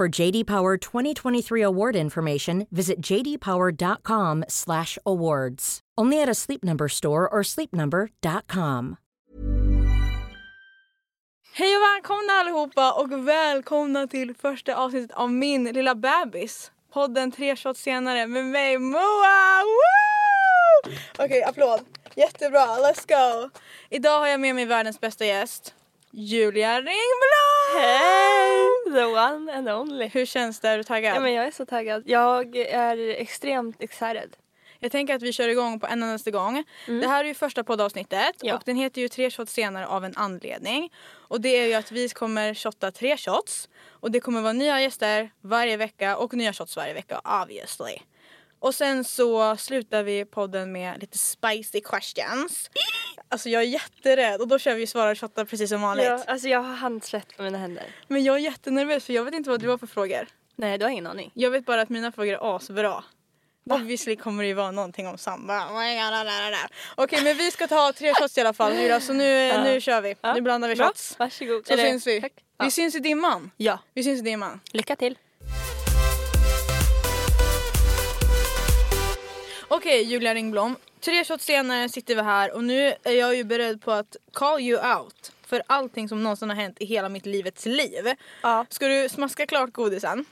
For JD Power 2023 award information, visit jdpower.com/awards. Only at a Sleep Number store or sleepnumber.com. Hej och välkomna allihopa och välkomna till första avsnittet av min lilla bebis. Podden tre shots senare med mig Moa! Woo! Okej, applåd. Jättebra, let's go! Idag har jag med mig världens bästa gäst, Julia Ringblom! Hej! The one and only. Hur känns det? Är du taggad? Ja, men jag är så taggad. Jag är extremt excited. Jag tänker att vi kör igång på en endaste gång. Det här är ju första poddavsnittet Mm. Ja. och den heter ju tre shots senare av en anledning. Och det är ju att vi kommer shotta tre shots och det kommer vara nya gäster varje vecka och nya shots varje vecka obviously. Och sen så slutar vi podden med lite spicy questions. Alltså jag är jätterädd och då kör vi svara och shotta precis som vanligt. Ja, alltså jag har handsvett på mina händer. Men jag är jättenervös för jag vet inte vad du har för frågor. Nej, du har ingen aning. Jag vet bara att mina frågor är asbra. Obviously kommer det ju vara någonting om samba. Oh my God, la, la, la. Okej men vi ska ta tre shots i alla fall Julia så nu, nu kör vi. Nu blandar vi Bra. shots. Varsågod. Så syns vi. Tack. Vi Ja. syns i dimman. ja, Vi syns i dimman. lycka till. Okej Julia Ringblom. Tre shots senare sitter vi här och nu är jag ju beredd på att call you out. För allting som någonsin har hänt i hela mitt livets liv. Ja. Ska du smaska klart godisen?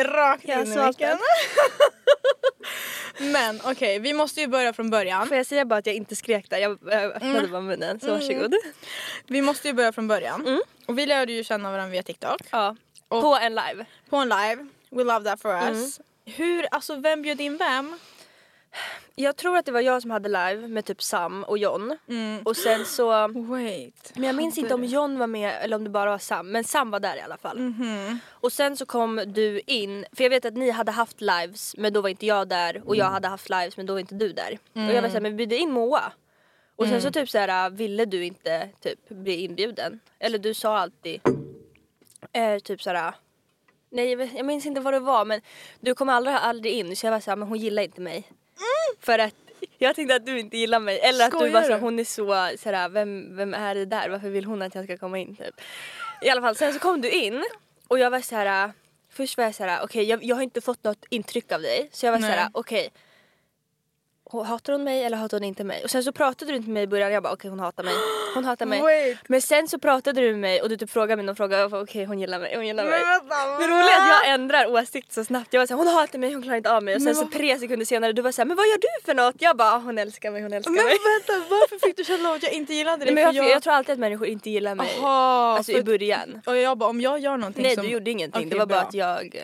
Rakt Jag in i smakar. micken. Men okej, vi måste ju börja från början. Får jag säga bara att jag inte skrek där? Jag eh, öppnade Mm. bara munnen, så varsågod. Vi måste ju börja från början. Mm. Och vi lärde ju känna varandra via TikTok. Ja. På en live. På en live. We love that for Mm. us. Hur, alltså vem bjöd in vem? Jag tror att det var jag som hade live med typ Sam och John. Mm. Och sen så... Wait. Men jag minns inte om John var med eller om det bara var Sam. Men Sam var där i alla fall. Och sen så kom du in. För jag vet att ni hade haft lives men då var inte jag där. Och jag Mm. hade haft lives men då var inte du där. Och jag var såhär, men vi bjuder in Moa. Och sen Mm. så typ såhär, ville du inte typ bli inbjuden. Eller du sa alltid eh, typ såhär. Nej jag vet- jag minns inte vad det var men du kom aldrig, aldrig in. Så jag var såhär, men hon gillar inte mig. För att jag tänkte att du inte gillar mig. Eller att Mm. Skojar du bara såhär, du? hon är så såhär, vem, vem är det där? Varför vill hon att jag ska komma in typ? I alla fall, sen så kom du in och jag var så här. Först var jag så här, okej jag, jag har inte fått något intryck av dig. Så jag var så här, Nej. okej. hon- Hatar hon mig eller hatar hon inte mig? Och sen så pratade du inte med mig i början. Jag bara okej hon hatar mig. Hon hatar mig. Wait. Men sen så pratade du med mig och du typ frågade mig någon fråga. Jag bara okej hon gillar mig, hon gillar mig. vänta. Det roliga är att jag ändrar åsikt så snabbt. Jag var såhär, hon hatar mig, hon klarar inte av mig. Och sen Men så vad- tre sekunder senare du var såhär, men vad gör du för något? Jag bara, ah, hon älskar mig, hon älskar Men mig. vänta, varför fick du känna att jag inte gillade Nej, dig? men jag, För jag tror alltid att människor inte gillar mig. Jaha, alltså för- i början. Och jag bara om jag gör någonting Nej som... du gjorde ingenting, Okej, det var bara bra. att jag eh,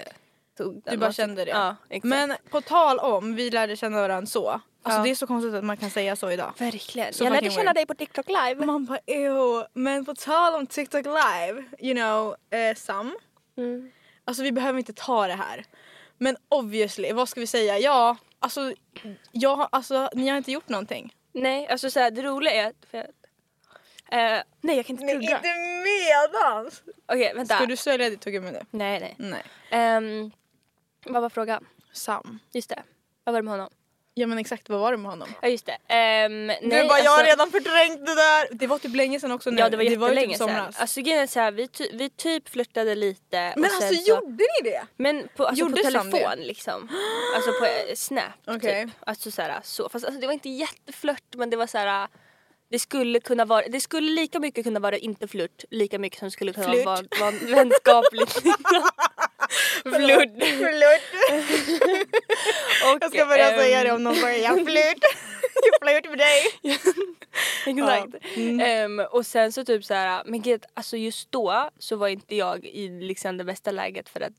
tog den Du bara åsikten. kände det. Ja, exakt. Men på tal om, vi lärde känna varandra så. Alltså Ja. det är så konstigt att man kan säga så idag. Verkligen. Så jag lärde fucking känna weird. dig på TikTok live. Man bara ew. Men på tal om TikTok live, you know, eh, Sam. Mm. Alltså vi behöver inte ta det här. Men obviously, vad ska vi säga? Ja, alltså, jag, har- alltså ni har inte gjort någonting. Nej, Alltså såhär, det roliga är att... För, eh, nej jag kan inte tugga. medans! Okej vänta. Ska du Mm. svälja ditt tuggummi nu? Nej nej. Nej. Ehm, vad var frågan? Sam. Just det. Vad var det med honom? Ja men exakt, vad var det med honom? Ja just det. Ehm, nej, redan förträngt det där! Det var typ länge sedan också nu. Ja det var ju jättelänge typ sedan. somras. Alltså grejen är såhär, vi, ty- vi typ flörtade lite. och men sen alltså så, gjorde ni det? Men på, alltså, på gjorde Sam det? telefon liksom. Alltså på eh, snap Okej. typ. Alltså såhär så. Fast alltså, det var inte jätteflört men det var såhär. Det skulle kunna vara, det skulle lika mycket kunna vara inte flört lika mycket som det skulle kunna Flört. vara, vara vänskapligt. flört. Flört! Och, ehm, om någon börjar flört. flört med dig. Exakt. Ja. Mm. Ehm, och sen så typ så här, men gud, alltså just då så var inte jag i liksom det bästa läget för att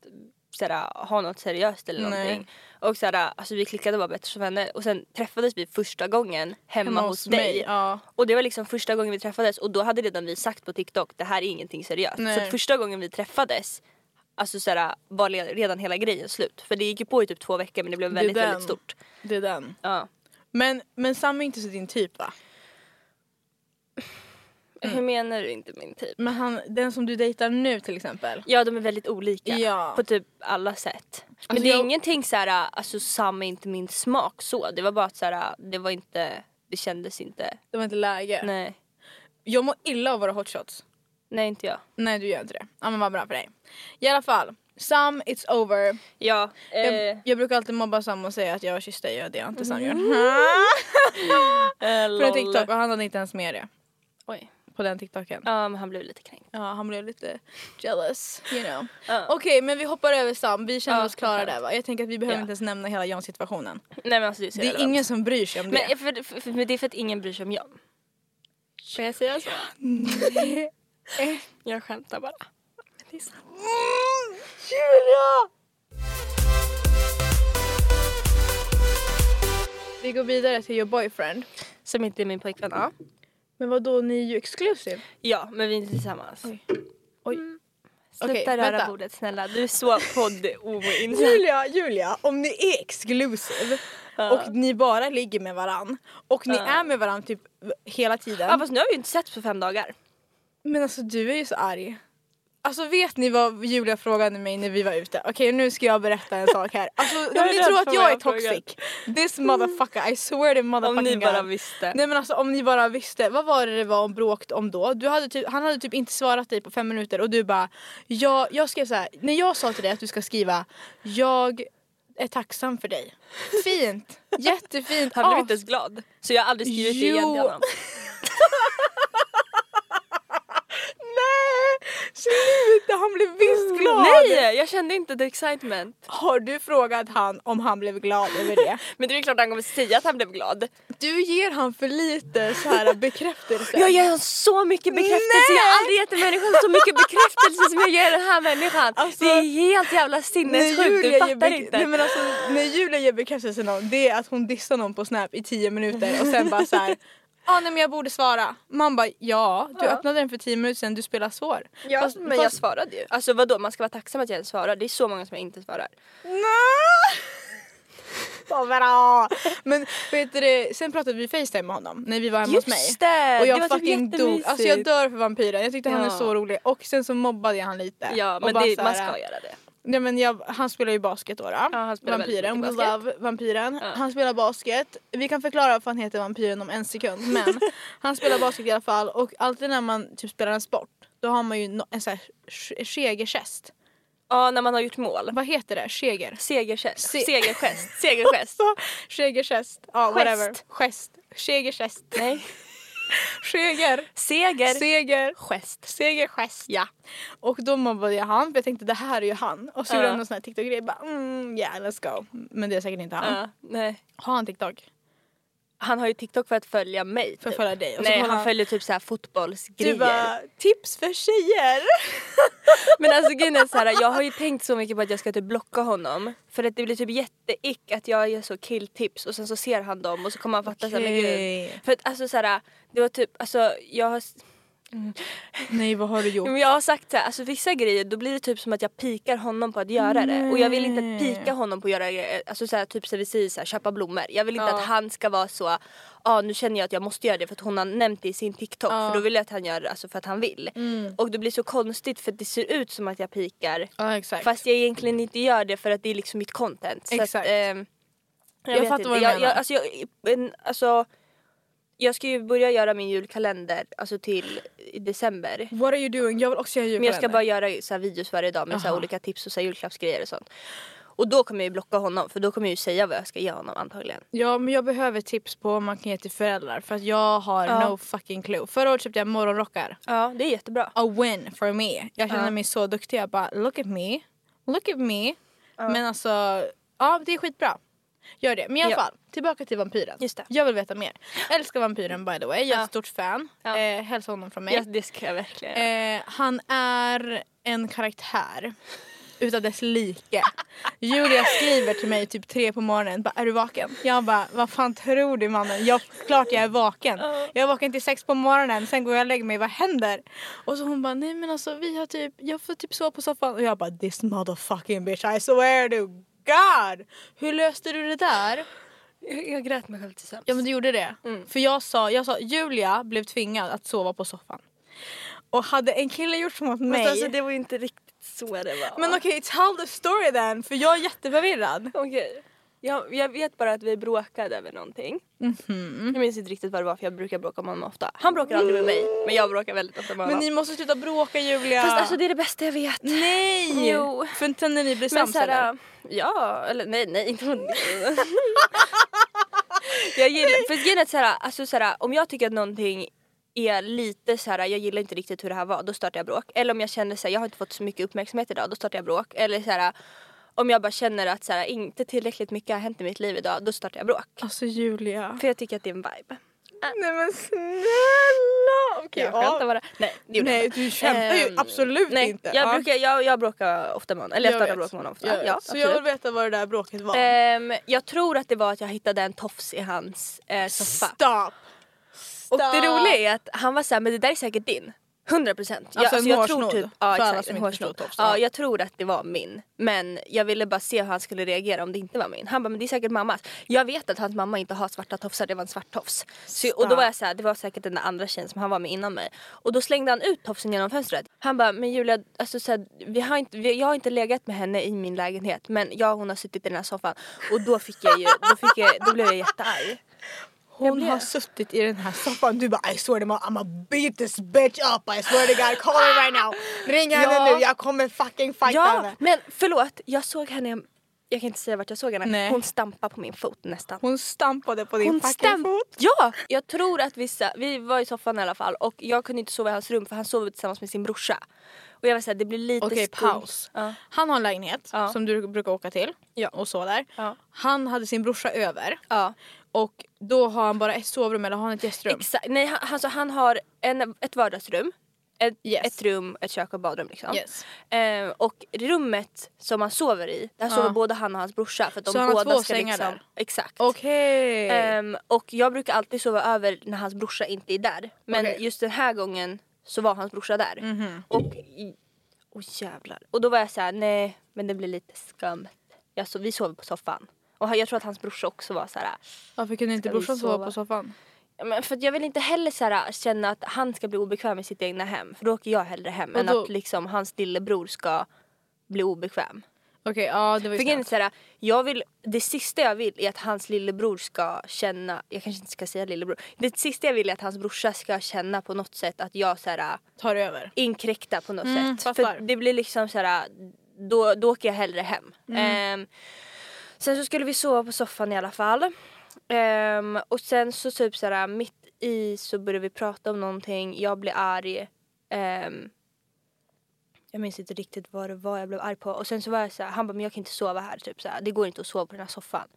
så här, ha något seriöst eller Nej. någonting. Och så här, alltså vi klickade bara bättre som vänner och sen träffades vi första gången hemma, Hemma hos, hos dig. mig, ja. Och det var liksom första gången vi träffades och då hade redan vi sagt på TikTok det här är ingenting seriöst. Nej. Så att första gången vi träffades Alltså såhär, var le- redan hela grejen slut. För det gick ju på i typ två veckor men det Det blev är väldigt den. väldigt stort. Det är den. Ja. Men, men Sam är inte så din typ va? Mm. Hur menar du inte min typ? Men han, den som du dejtar nu till exempel. Ja de är väldigt olika. Ja. På typ alla sätt. Men Alltså, det är jag- ingenting såhär, alltså Sam är inte min smak så. Det var bara att såhär, det var inte, det kändes inte. Det var inte läge. Nej. Jag mår illa av våra hotshots. Nej inte jag. Nej du gör inte det. Ja men vad bra för dig. I alla fall. Sam, it's over. Ja. Eh, Jag, jag brukar alltid mobba Sam och säga att jag kysste dig och det har inte Sam gjort. eh, På en Mm. lol. TikTok och han hade inte ens med det. Oj. På den TikToken. Ja men han blev lite kränkt. Ja han blev lite jealous. You know. Ja. Okej men vi hoppar över Sam. Vi känner Ja, oss klara skönt. där va? Jag tänker att vi behöver Ja. inte ens nämna hela Jans situationen. Nej men alltså det är så Det är irrelevant. ingen som bryr sig om det. Men, för, för, för, men det är för att ingen bryr sig om Jan. Får jag säga så? jag skämtar bara. Men det är sant. Mm, Julia! Vi går vidare till your boyfriend. Som inte är min pojkvän. Ja. Men vad då ni är ju exclusive. ja, men vi är inte tillsammans. Oj. Mm. Oj. Sluta Okej, röra vänta. bordet snälla. Du är så podd oinsatt. Julia, Julia, om ni är exclusive och ni bara ligger med varann och ni Ja. är med varann typ hela tiden. Ja fast nu har vi ju inte setts på fem dagar. Men alltså du är ju så arg. Alltså vet ni vad Julia frågade mig när vi var ute? Okej nu ska jag berätta en sak här. Alltså om är ni rädd tror för att vad jag är jag frågar. toxic. This motherfucker, I swear to Om motherfucking ni bara God. visste. Nej men alltså om ni bara visste, vad var det det var om bråkt om då? Du hade typ, han hade typ inte svarat dig på fem minuter och du bara jag, jag skrev så här. när jag sa till dig att du ska skriva Jag är tacksam för dig. Fint, jättefint. Han blev Ah, inte ens glad. Så jag har aldrig skrivit det igen till Jo. honom. Nej! Sluta, han blev visst glad! Mm. Nej jag kände inte the excitement. Har du frågat han om han blev glad över det? Men det är ju klart han kommer säga att han blev glad. Du ger han för lite så här bekräftelse. Jag ger honom så mycket bekräftelse. Nej! Jag har aldrig gett en människa så mycket bekräftelse som jag ger den här människan. Alltså, det är helt jävla sinnessjukt. Du fattar ger bek- inte. Nej, men alltså, när Julia ger bekräftelse till någon det är att hon dissar någon på snap i 10 minuter och sen bara så här. Ja ah, nej men jag borde svara. Man bara ja, du öppnade den för 10 minuter sedan, du spelar svår. ja, Fast- men jag fast- svarade ju. Alltså vadå, man ska vara tacksam att jag ens svarar. Det är så många som jag inte svarar. Så bra! Men vet du, det, sen pratade vi facetime med honom när vi var hemma hos mig. det! Och jag det var fucking typ dog. Alltså jag jättemysigt. dör för vampyren. Jag tyckte han är Ja. så rolig. Och sen så mobbade jag han lite. Ja och men bara det, så man här, ska göra det. Nej men jag, han spelar ju basket då. då. Ja, han spelar väldigt vampyren, we mycket basket. love vampyren. Ja. Han spelar basket. Vi kan förklara varför han heter vampyren om en sekund men han spelar basket i alla fall och alltid när man typ spelar en sport då har man ju no- en sån här sch- segergest. Ja när man har gjort mål. Vad heter det? Seger? Segergest. Se- Segergest. Segergest. Så, segergest. Ja whatever. Gest. Gest. Segergest. Nej. Seger. Seger. Seger. Gest. Segergest. Ja. Och då mobbade jag han för jag tänkte det här är ju han. Och så Ja. gjorde han någon sån här TikTok-grej. Bara mm, yeah let's go. Men det är säkert inte han. Ja, nej. Har han TikTok? Han har ju TikTok för att följa mig. För att typ. följa dig. Och så Nej kollar han följer typ såhär fotbollsgrejer. Du bara, tips för tjejer! Men alltså grejen är så här, jag har ju tänkt så mycket på att jag ska typ blocka honom. För att det blir typ jätteick att jag ger så killtips och sen så ser han dem och så kommer han fatta så här, men gud. Okej. För att alltså så här, det var typ, alltså jag har, Nej vad har du jo, gjort? men jag har sagt så här, alltså vissa grejer då blir det typ som att jag pikar honom på att göra det. Och jag vill inte att pika honom på att göra det, alltså så här, typ så här, vi säger så här, köpa blommor. Jag vill inte Ja. att han ska vara så, ja nu känner jag att jag måste göra det för att hon har nämnt det i sin TikTok. Ja. För då vill jag att han gör det, alltså för att han vill. Och det blir så konstigt för att det ser ut som att jag pikar. Ja exakt. Fast jag egentligen inte gör det för att det är liksom mitt content. Så Exakt. Att, ehm, jag Jag vet fattar inte. vad du jag, menar. Jag, alltså, jag, en, alltså, jag ska ju börja göra min julkalender alltså till i december. What are you doing? Jag vill också göra Men jag ska julkalender. bara göra så här videos varje dag med så här Aha. olika tips och så här julklappsgrejer och sånt. Och då kommer jag ju blocka honom för då kommer jag ju säga vad jag ska ge honom antagligen. Ja men jag behöver tips på vad man kan ge till föräldrar för att jag har Ja. no fucking clue. Förra året köpte jag morgonrockar. Ja det är jättebra. A win for me. Jag känner mig så duktig. Jag bara look at me, look at me. Men alltså, ja det är skitbra. Gör det. Men i alla Ja. fall, tillbaka till vampyren. Just det. Jag vill veta mer. Älskar vampyren by the way. Jag är Ja. ett stort fan. Ja. Eh, hälsa honom från mig. Eh, Ja, det ska jag verkligen göra. Eh, han är en karaktär. utav dess like. Julia skriver till mig typ tre på morgonen. Bara, är du vaken? Jag bara, vad fan tror du mannen? Jag, klart jag är vaken. Jag är vaken till sex på morgonen. Sen går jag och lägger mig. Vad händer? Och så hon bara, nej men alltså vi har typ, jag får typ sova på soffan. Och jag bara, this motherfucking bitch. I swear to God. Hur löste du det där? Jag, jag grät mig själv till sömns. Ja men du gjorde det. Mm. För jag sa, jag sa Julia blev tvingad att sova på soffan. Och hade en kille gjort så mot mig. Fast alltså, det var ju inte riktigt så det var. Men okej, tell the story then. För jag är jätteförvirrad. Okej. Jag, jag vet bara att vi bråkade över någonting. Jag minns inte riktigt vad det var för jag brukar bråka med honom ofta. Han bråkar aldrig med mig Mm. men jag bråkar väldigt ofta med Men honom. ni måste sluta bråka Julia. Fast alltså det är det bästa jag vet. Nej! Jo. För inte när ni blir Men äh, sams eller? såhär, ja eller nej nej inte mot Jag gillar, för grejen är att såhär, alltså såhär, om jag tycker att någonting är lite såhär, jag gillar inte riktigt hur det här var, då startar jag bråk. Eller om jag känner såhär, jag har inte fått så mycket uppmärksamhet idag, då startar jag bråk. Eller såhär, om jag bara känner att såhär, inte tillräckligt mycket har hänt i mitt liv idag, då startar jag bråk. Alltså Julia. För jag tycker att det är en vibe. Nej men snälla! Okej, Jag skämtar bara. Nej, det gjorde jag Nej inte. du skämtar ju Ehm, absolut nej, inte. Jag, Ja. brukar, jag, jag bråkar ofta med honom, eller jag, startar vet. bråk med honom ofta. Jag vet. ja, Så jag vill absolut. veta vad det där bråket var. Ehm, jag tror att det var att jag hittade en tofs i hans eh, soffa. Stop! Och det roliga är att han var såhär, men det där är säkert din. 100 procent. Alltså en jag tror hårsnodd, typ, för ja, alla exakt, som en inte förstår hårsnodd. tofs, ja. Ja, jag tror att det var min. Men jag ville bara se hur han skulle reagera om det inte var min. Han bara, men det är säkert mammas. Jag vet att hans mamma inte har svarta tofsar, det var en svart tofs. Så, och då var jag såhär, det var säkert den där andra tjejen som han var med innan mig. Och då slängde han ut tofsen genom fönstret. Han bara, men Julia, alltså, så här, vi har inte, vi, jag har inte legat med henne i min lägenhet. Men jag och hon har suttit i den här soffan. Och då fick jag ju, då, fick jag, då blev jag jättearg. Hon har suttit i den här soffan. Du bara I swear to God, I'm gonna beat this bitch up. I swear to God, call her right now. Ring henne Ja. nu, jag kommer fucking fighta Ja, henne. men förlåt. Jag såg henne, jag kan inte säga vart jag såg henne. Nej. Hon stampade på min fot nästan. Hon stampade på din fucking stamp- fot. Ja! Jag tror att vissa, vi var i soffan i alla fall och jag kunde inte sova i hans rum för han sov tillsammans med sin brorsa. Och jag var såhär, det blir lite Okej, skumt. paus. Ja. Han har en lägenhet Ja. som du brukar åka till Ja. och så där. Ja. Han hade sin brorsa över ja. och då har han bara ett sovrum eller har han ett gästrum? Exakt. Nej, han, alltså, han har en, ett vardagsrum, ett, Yes. ett rum, ett kök och badrum liksom. Yes. Eh, och rummet som han sover i, där sover Ja. både han och hans brorsa. För att de Så han har båda två ska sängar liksom, där? Exakt. Okej. Ehm, och jag brukar alltid sova över när hans brorsa inte är där. Men Okej. Mhm. just den här gången så var hans brorsa där. Och, i- åh jävlar. Och då var jag så här: nej men det blir lite skumt. Jag so- vi sover på soffan. Och han- jag tror att hans brorsa också var så här. Varför kunde inte Ska vi brorsan sova sova? på soffan? "Ja, Men för att jag vill inte heller så här, känna att han ska bli obekväm i sitt egna hem. För då åker jag hellre hem Och än då- att liksom hans lillebror ska bli obekväm. Okej, ja det var ju För grejen är snällt. så här, jag vill, det sista jag vill är att hans lillebror ska känna, jag kanske inte ska säga lillebror. Det sista jag vill är att hans brorsa ska känna på något sätt att jag så här, Tar över. inkräktar på något Mm, sätt. fattar. För det blir liksom så här, då, då åker jag hellre hem. Mm. Ehm, sen så skulle vi sova på soffan i alla fall. Ehm, och sen så typ så här, mitt i så började vi prata om någonting, jag blev arg. Ehm, jag minns inte riktigt vad det var jag blev arg på. Och sen så var jag så här, han bara men jag kan inte sova här typ så här, det går inte att sova på den här soffan.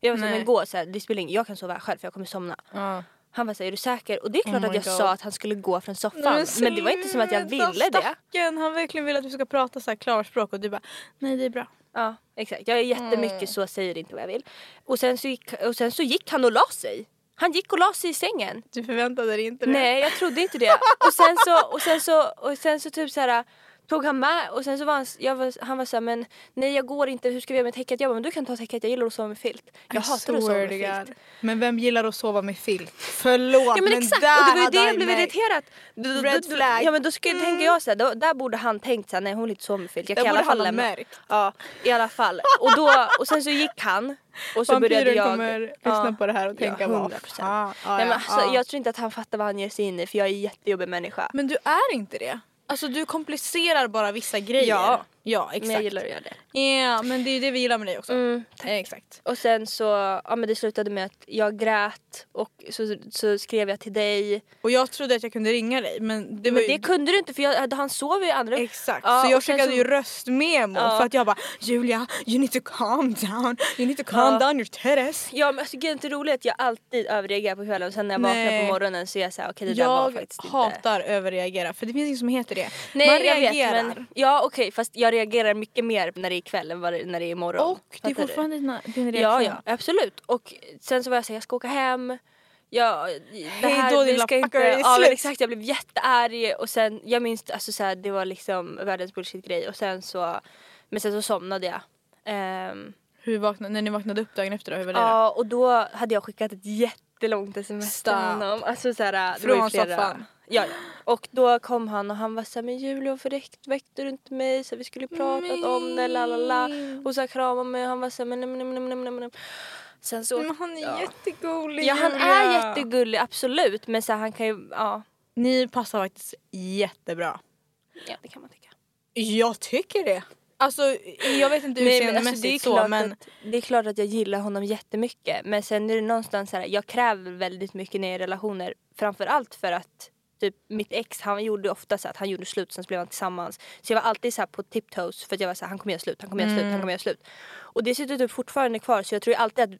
Jag var så här, Nej. men gå så här, det spelar ingen jag kan sova här själv för jag kommer somna. Ja. Han var så här, är du säker? Och det är klart Oh my att jag God. sa att han skulle gå från soffan. Men det var inte som att jag sluta, ville det. Stacken. Han verkligen vill att vi ska prata så här klarspråk och du bara nej det är bra. Ja, exakt. Jag är jättemycket så, säger inte vad jag vill. Och sen, så gick, och sen så gick han och la sig. Han gick och la sig i sängen. Du förväntade dig inte det. Nej, jag trodde inte det. Och sen så, och sen så, och sen så typ så här tog han med och sen så var han, jag var, han var såhär men nej jag går inte, hur ska vi göra med täcket? Jag bara men du kan ta täcket, jag gillar att sova med filt. Jag hatar att sova med swear to filt. God. Men vem gillar att sova med filt? Förlåt Ja men, exakt, där och det var ju hade det han jag blev mig. irriterad. Du- du- Red du- flag. Mm. Ja men då skulle, tänker jag såhär, då, där borde han tänkt såhär nej hon vill inte sova med filt. Jag Där kan i alla borde han fall ha lämna. märkt. Ja i alla fall. Och, då, och sen så gick han. Och så började Vampyren jag. kommer lyssna på det här och tänka vad 100 procent. fan, ja, ah." nej, men ja, alltså, ja. Jag tror inte att han fattar vad han ger sig in i för jag är en jättejobbig människa. Men du är inte det. Alltså du komplicerar bara vissa grejer. Ja. ja exakt. Men jag gillar att göra det. Ja, men det är ju det vi gillar med dig också. Mm. Eh, Exakt. Och sen så, ja men det slutade med att jag grät och så, så skrev jag till dig. Och jag trodde att jag kunde ringa dig men det var Men ju... det kunde du inte för jag, han sov i andra Exakt, Ja, så jag och sen skickade så- ju röstmemo Ja. för att jag bara Julia you need to calm down, you need to calm Ja. down your titties. Ja men alltså, grejen är inte roligt att jag alltid överreagerar på kvällen och sen när jag vaknar Nej. på morgonen så är jag såhär okej det där var Jag faktiskt inte... hatar överreagera för det finns inget som heter det. Nej, Man jag reagerar. Vet, men, ja okej fast jag reagerar mycket mer när det är kväll än vad det- när det är morgon. Och det är Fattar du? fortfarande dina- din reaktion. Ja, ja, absolut. Och sen så var jag såhär, jag ska åka hem. Ja, det Hej här, då, vi din ska lilla inte... fuckare, Ja, men slut. exakt. Jag blev jättearg och sen, jag minns, alltså så här, det var liksom världens bullshit-grej och sen så, men sen så somnade jag. Ehm, Hur vaknade, när ni vaknade upp dagen efter då, hur var det då? ja, och då hade jag skickat ett jättelångt sms till Stop. honom. Alltså så här, det var ju Från flera- soffan. Ja, ja. Och då kom han och han var såhär, men Julia varför väck- väckte du inte mig? Så här, vi skulle pratat om det, la la la. Och så här, kramade mig och han var såhär, men nej, nej, nej, nej, nej, nej. Sen så Men han är Ja. jättegullig Ja han är Julia. jättegullig absolut men så här, han kan ju, ja. Ni passar faktiskt jättebra. ja det kan man tycka. Jag tycker det. Alltså jag vet inte utseendemässigt alltså, det, är så klart men att, det är klart att jag gillar honom jättemycket men sen är det någonstans så här, jag kräver väldigt mycket när jag är i relationer framförallt för att typ mitt ex han gjorde ofta så att han gjorde slut sen så blev han tillsammans. Så jag var alltid så här på tiptoes för att jag var så här, han kommer göra slut, han kommer göra Mm. slut, han kommer göra slut. Och det sitter typ fortfarande kvar så jag tror ju alltid att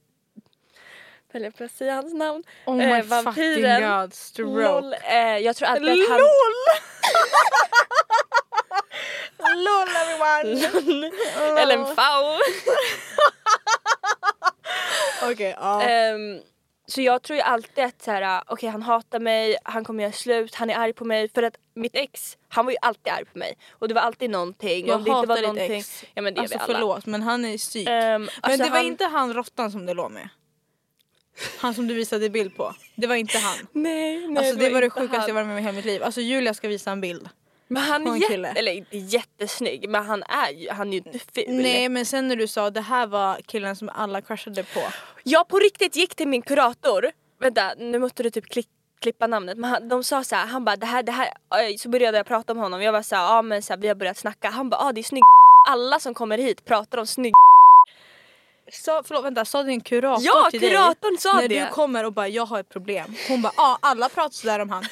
Höll jag på att säga hans namn? oh my Eh, fucking god stroke. Lol. Eh, jag tror alltid att han... LOL everyone! Eller en faun. Okej ja. Ehm, så jag tror ju alltid att så här, okej han hatar mig, han kommer göra slut, han är arg på mig. För att mitt ex, han var ju alltid arg på mig. Och det var alltid någonting. jag Om det inte hatar var ditt någonting- ex. Ja men det alltså är vi alla. förlåt men han är psyk. Ehm, men alltså, det var han- inte han råttan som du låg med. Han som du visade bild på. Det var inte han. Nej, nej Alltså det var det inte sjukaste han. jag varit med om i hela mitt liv. Alltså Julia ska visa en bild. Men han på är en jätte, kille. eller inte jättesnygg men han är ju, han är ju inte ful. Nej men sen när du sa det här var killen som alla crushade på. Jag på riktigt gick till min kurator. Vänta, nu måste du typ klick, klippa namnet. Men han, de sa så här, han bara det här, det här. eh, Så började jag prata om honom. Jag var så här, ja men så här, vi har börjat snacka. Han bara, ja ah, det är snygg Alla som kommer hit pratar om snygg Sa, förlåt vänta, sa din kurator Ja, till dig? kuratorn sa när det. du kommer och bara jag har ett problem. Hon bara ja alla pratar sådär om han.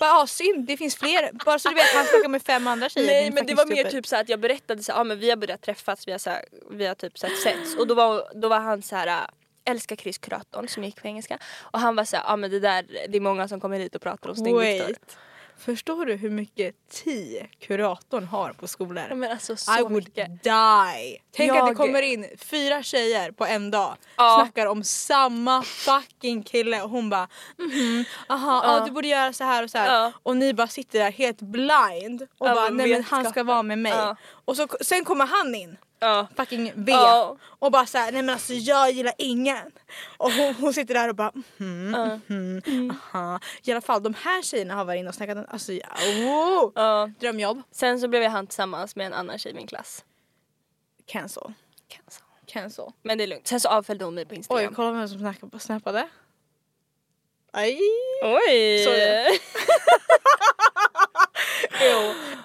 Bara ja synd det finns fler. Bara så du vet han snackar med fem andra tjejer. Nej din men det fucking var mer stupid. typ så här att jag berättade så här, ah, men vi har börjat träffas, vi har, så här, vi har typ så här, setts och då var, då var han så här äh, älskar Chris kuratorn som gick på engelska och han var så här, ah, men det där det är många som kommer hit och pratar om snygg Viktor. Wait. Förstår du hur mycket tid kuratorn har på skolor? Ja, Men alltså så I would mycket. die! Tänk att det Jag- kommer in fyra tjejer på en dag, Ja. snackar om samma fucking kille och hon bara mhm, aha, ja. Ja. du borde göra så här och så här Ja. och ni bara sitter där helt blind och Ja, bara men nej men han ska vetskapen. vara med mig Ja. och så, sen kommer han in Ja. fucking V Ja. och bara såhär nej men alltså jag gillar ingen och hon, hon sitter där och bara mhm, mhm, Mm. aha. i alla fall de här tjejerna har varit inne och snackat alltså ja, oh. Ja. drömjobb Sen så blev jag han tillsammans med en annan tjej i min klass. cancel cancel Men det är lugnt. Sen så avföljde hon mig på Oj, Instagram. kolla vem som snackar på snappade. Aj! Oj! Sorry.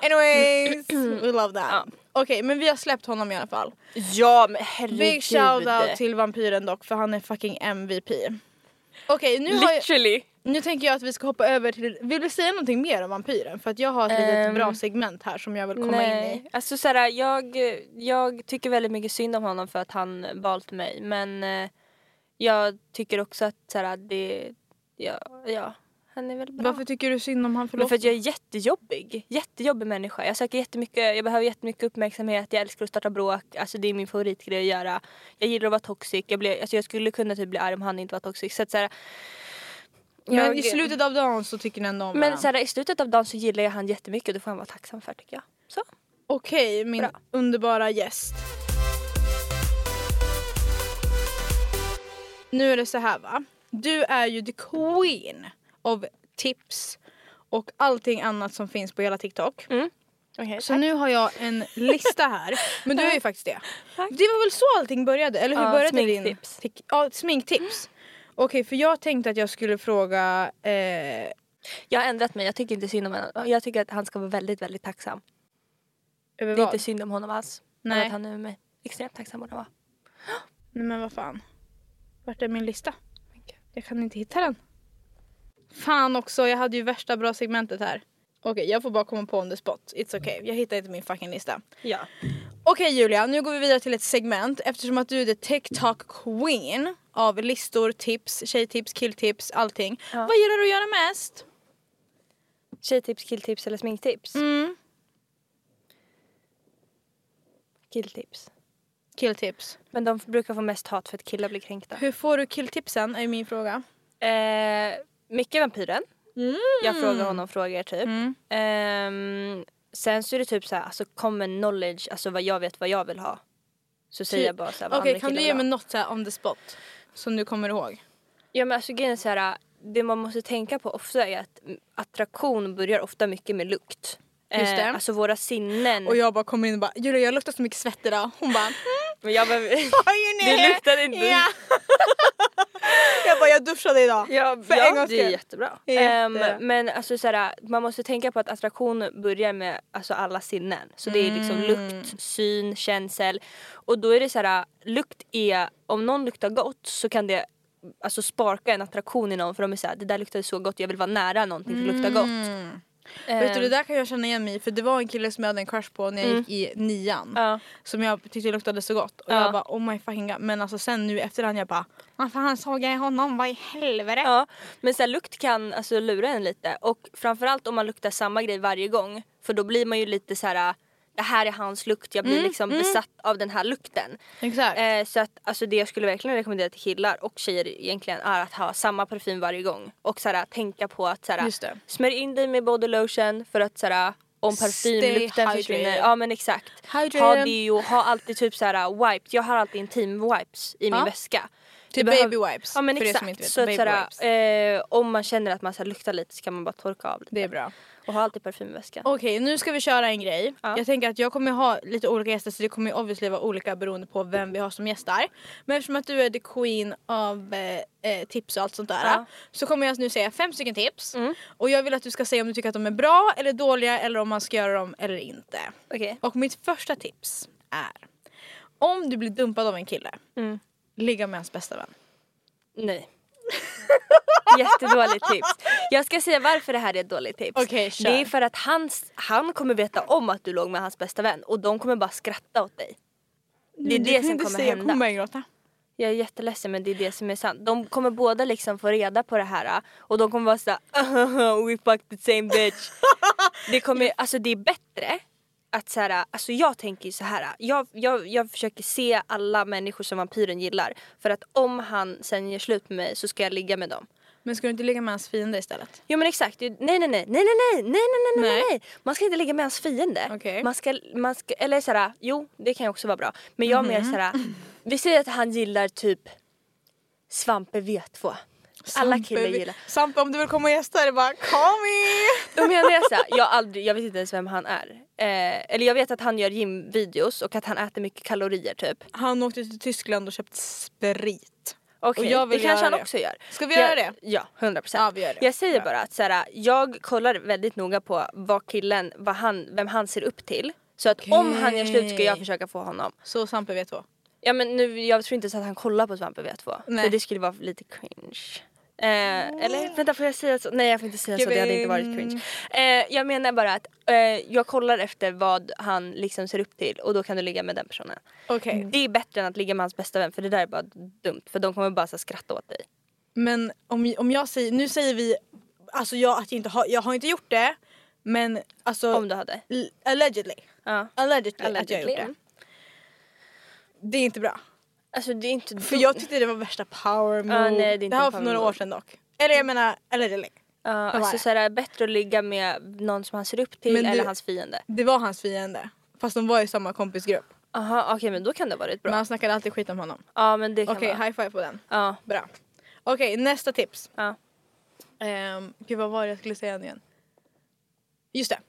Anyways, we love that. Ja. Okej, men vi har släppt honom i alla fall. ja men herregud. Big shout out till vampyren dock för han är fucking MVP. Okej, nu, har jag, Literally. nu tänker jag att vi ska hoppa över till... Vill du säga någonting mer om vampyren? För att jag har ett litet Ehm, bra segment här som jag vill komma Nej. in i. Alltså såhär, jag, jag tycker väldigt mycket synd om honom för att han valt mig men eh, jag tycker också att såhär, det, ja, ja, han är väl bra. Varför tycker du synd om han? men Förlåt. för att jag är jättejobbig. Jättejobbig människa. Jag söker jättemycket, jag behöver jättemycket uppmärksamhet, jag älskar att starta bråk. Alltså det är min favoritgrej att göra. Jag gillar att vara toxic. Jag, blir, alltså, jag skulle kunna typ bli arg om han inte var toxic. Så att, såhär, men i slutet av dagen så tycker ni ändå om men varandra. såhär, i slutet av dagen så gillar jag han jättemycket och det får han vara tacksam för tycker jag. Så. Okej, min Bra. underbara gäst. Nu är det så här va. Du är ju the queen av tips och allting annat som finns på hela TikTok. Mm. Okay, Så nu har jag en lista här. Men du är ju faktiskt det. Det var väl så allting började? Eller hur Ja, började sminktips. din... tik- Ja, sminktips. Okej, för jag tänkte att jag skulle fråga... Eh, Jag har ändrat mig. Jag tycker inte synd om honom. Jag tycker att han ska vara väldigt, väldigt tacksam. över Det är vad? inte synd om honom alls. Nej. Men att han är med mig. Extremt tacksam borde han vara. Nej men vad fan. Vart är min lista? Men gud. Jag kan inte hitta den. Fan också, jag hade ju värsta bra segmentet här. Okej, jag får bara komma på on the spot. It's okay, jag hittar inte min fucking lista. Ja. Okej Julia, nu går vi vidare till ett segment. Eftersom att du är the TikTok queen av listor, tips, tjejtips, killtips, allting. Ja. Vad gillar du att göra mest? Tjejtips, killtips eller sminktips? Mm. Killtips. Killtips. Men de brukar få mest hat för att killar blir kränkta. Hur får du killtipsen är min fråga. Eh, Micke Vampyren. Mm. Jag frågar honom frågor typ. Mm. Ehm, sen så är det typ så här, alltså common knowledge, alltså vad jag vet vad jag vill ha. Så säger Typ. jag bara så här, vad Okej, andra kan du killar ge vill mig ha. något så här on the spot? Som du kommer ihåg? Ja men alltså grejen är så här, det man måste tänka på ofta är att mm, attraktion börjar ofta mycket med lukt. Just det. alltså våra sinnen. Och jag bara kommer in och bara Julia jag luktar så mycket svett idag. Hon bara Men jag behöver... Vad gör ni? Det luktar inte. Ja. jag bara jag duschade idag. Ja, För ja, en gångs det är skull. jättebra. Jätte. Ehm, men alltså, såhär, man måste tänka på att attraktion börjar med alltså, alla sinnen. Så det är liksom lukt, syn, känsel. Och då är det såhär, lukt är, om någon luktar gott så kan det alltså, sparka en attraktion i någon för de är såhär, det där luktade så gott, jag vill vara nära någonting som luktar gott. Ehm. Vet du det där kan jag känna igen mig i, för det var en kille som jag hade en crush på när jag gick i nian. Mm. Ja. Som jag tyckte luktade så gott. Och Ja. jag bara oh my fucking god. Men alltså sen nu efterhand jag bara varför han såg jag honom? Vad i helvete? Ja, men så här, lukt kan alltså, lura en lite. Och framförallt om man luktar samma grej varje gång. För då blir man ju lite så här. Det här är hans lukt, jag blir Mm, liksom besatt av den här lukten. Exakt. Eh, så att alltså, det jag skulle verkligen rekommendera till killar och tjejer egentligen är att ha samma parfym varje gång. Och så här, tänka på att så här, Just det. smörj in dig med body lotion för att så här, om parfymlukten hydrated. försvinner. Ja men exakt. Ha Hydrated. deo, ha alltid typ så här wipes. Jag har alltid intim wipes i Ja. min väska. Typ Det behöv- baby wipes, Ja men för er som exakt. inte vet, så att, baby så här, wipes. eh, om man känner att man så här, luktar lite så kan man bara torka av lite. Det är bra. Och ha alltid parfym i väskan. Okej, nu ska vi köra en grej. Ja. Jag tänker att jag kommer ha lite olika gäster så det kommer ju obviously vara olika beroende på vem vi har som gästar. Men eftersom att du är the queen av eh, eh, tips och allt sånt där Ja. så kommer jag nu säga fem stycken tips. Och jag vill att du ska säga om du tycker att de är bra eller dåliga eller om man ska göra dem eller inte. Okej. Och mitt första tips är om du blir dumpad av en kille, Mm. ligga med hans bästa vän. Nej. Jättedåligt tips. Jag ska säga varför det här är ett dåligt tips. Okej, kör. det är för att hans, han kommer veta om att du låg med hans bästa vän och de kommer bara skratta åt dig. Det är Du det Mm, kan som inte kommer säga, Jag hända. kommer börja gråta. Jag är jätteledsen men det är det som är sant. De kommer båda liksom få reda på det här och de kommer vara såhär we fucked the same bitch. det, kommer, alltså, det är bättre att så här, alltså jag tänker ju så här. Jag, jag, jag försöker se alla människor som vampyren gillar. För att om han sen gör slut med mig så ska jag ligga med dem. Men ska du inte ligga med hans fiende istället? Jo men exakt, Det- nej nej nej, nej nej nej, nej nej nej nej Nej. nej Man ska inte ligga med hans fiende. Okej. Man, ska, man ska, eller såhär, jo det kan ju också vara bra. Men jag mer såhär, vi säger att han gillar typ Svampe V2. Alla Sampe, killar vi- gillar. Sampe om du vill komma och gästa är det bara kom in! Då menar jag såhär, jag, har aldrig, jag vet inte ens vem han är. Eh, eller jag vet att han gör gymvideos och att han äter mycket kalorier typ. Han åkte till Tyskland och köpte sprit. Okej, Och jag det vill kanske göra han det. också gör. Ska vi göra jag, det? Ja, 100 procent. Ja, vi gör det. Jag säger Bra. bara att så här, jag kollar väldigt noga på vad killen, vad han, vem han ser upp till. Så att om han gör slut ska jag Okej. försöka få honom. Så Sampe vet vad. Ja, men nu, jag tror inte så att han kollar på Svampe V2. Nej. För det skulle vara lite cringe. Eh, eller vänta får jag säga så? Nej jag får inte säga så, det hade inte varit cringe. Eh, jag menar bara att eh, jag kollar efter vad han liksom ser upp till och då kan du ligga med den personen. Okej. Det är bättre än att ligga med hans bästa vän för det där är bara dumt för de kommer bara så här, skratta åt dig. Men om, om jag säger, nu säger vi, alltså jag, att jag, inte har, jag har inte gjort det men alltså Om du hade. l- allegedly. Ja. allegedly. att jag har Allegedly. gjort det. Det är inte bra. Alltså det är inte För jag tyckte det var värsta power move. Ja, Ah, nej, det är inte här var en för power några move. år sedan dock. Eller jag menar allegedly. Ja, det? alltså så här, bättre att ligga med någon som han ser upp till Men eller du- hans fiende. Det var hans fiende. Fast de var i samma kompisgrupp. Aha, okej men då kan det ha varit bra. Men Ja han snackade alltid skit om honom. men det kan Okej, vara. high five på den. Ja. Bra. Okej, nästa tips. Ja. Um, gud vad var det jag skulle säga nu igen? Just det.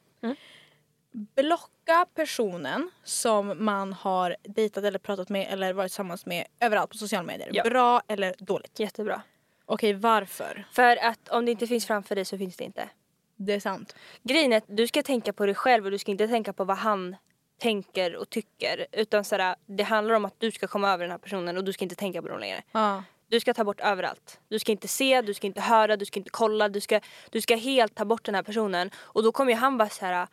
Blocka personen som man har dejtat eller pratat med eller varit tillsammans med överallt på sociala medier. Ja. Bra eller dåligt? Jättebra. Okej, varför? För att om det inte finns framför dig så finns det inte. Det är sant. Grejen är att du ska tänka på dig själv och du ska inte tänka på vad han tänker och tycker. Utan så här, det handlar om att du ska komma över den här personen och du ska inte tänka på dem längre. Ja. Du ska ta bort överallt. Du ska inte se, du ska inte höra, du ska inte kolla. Du ska, du ska helt ta bort den här personen. Och då kommer ju han vara så här...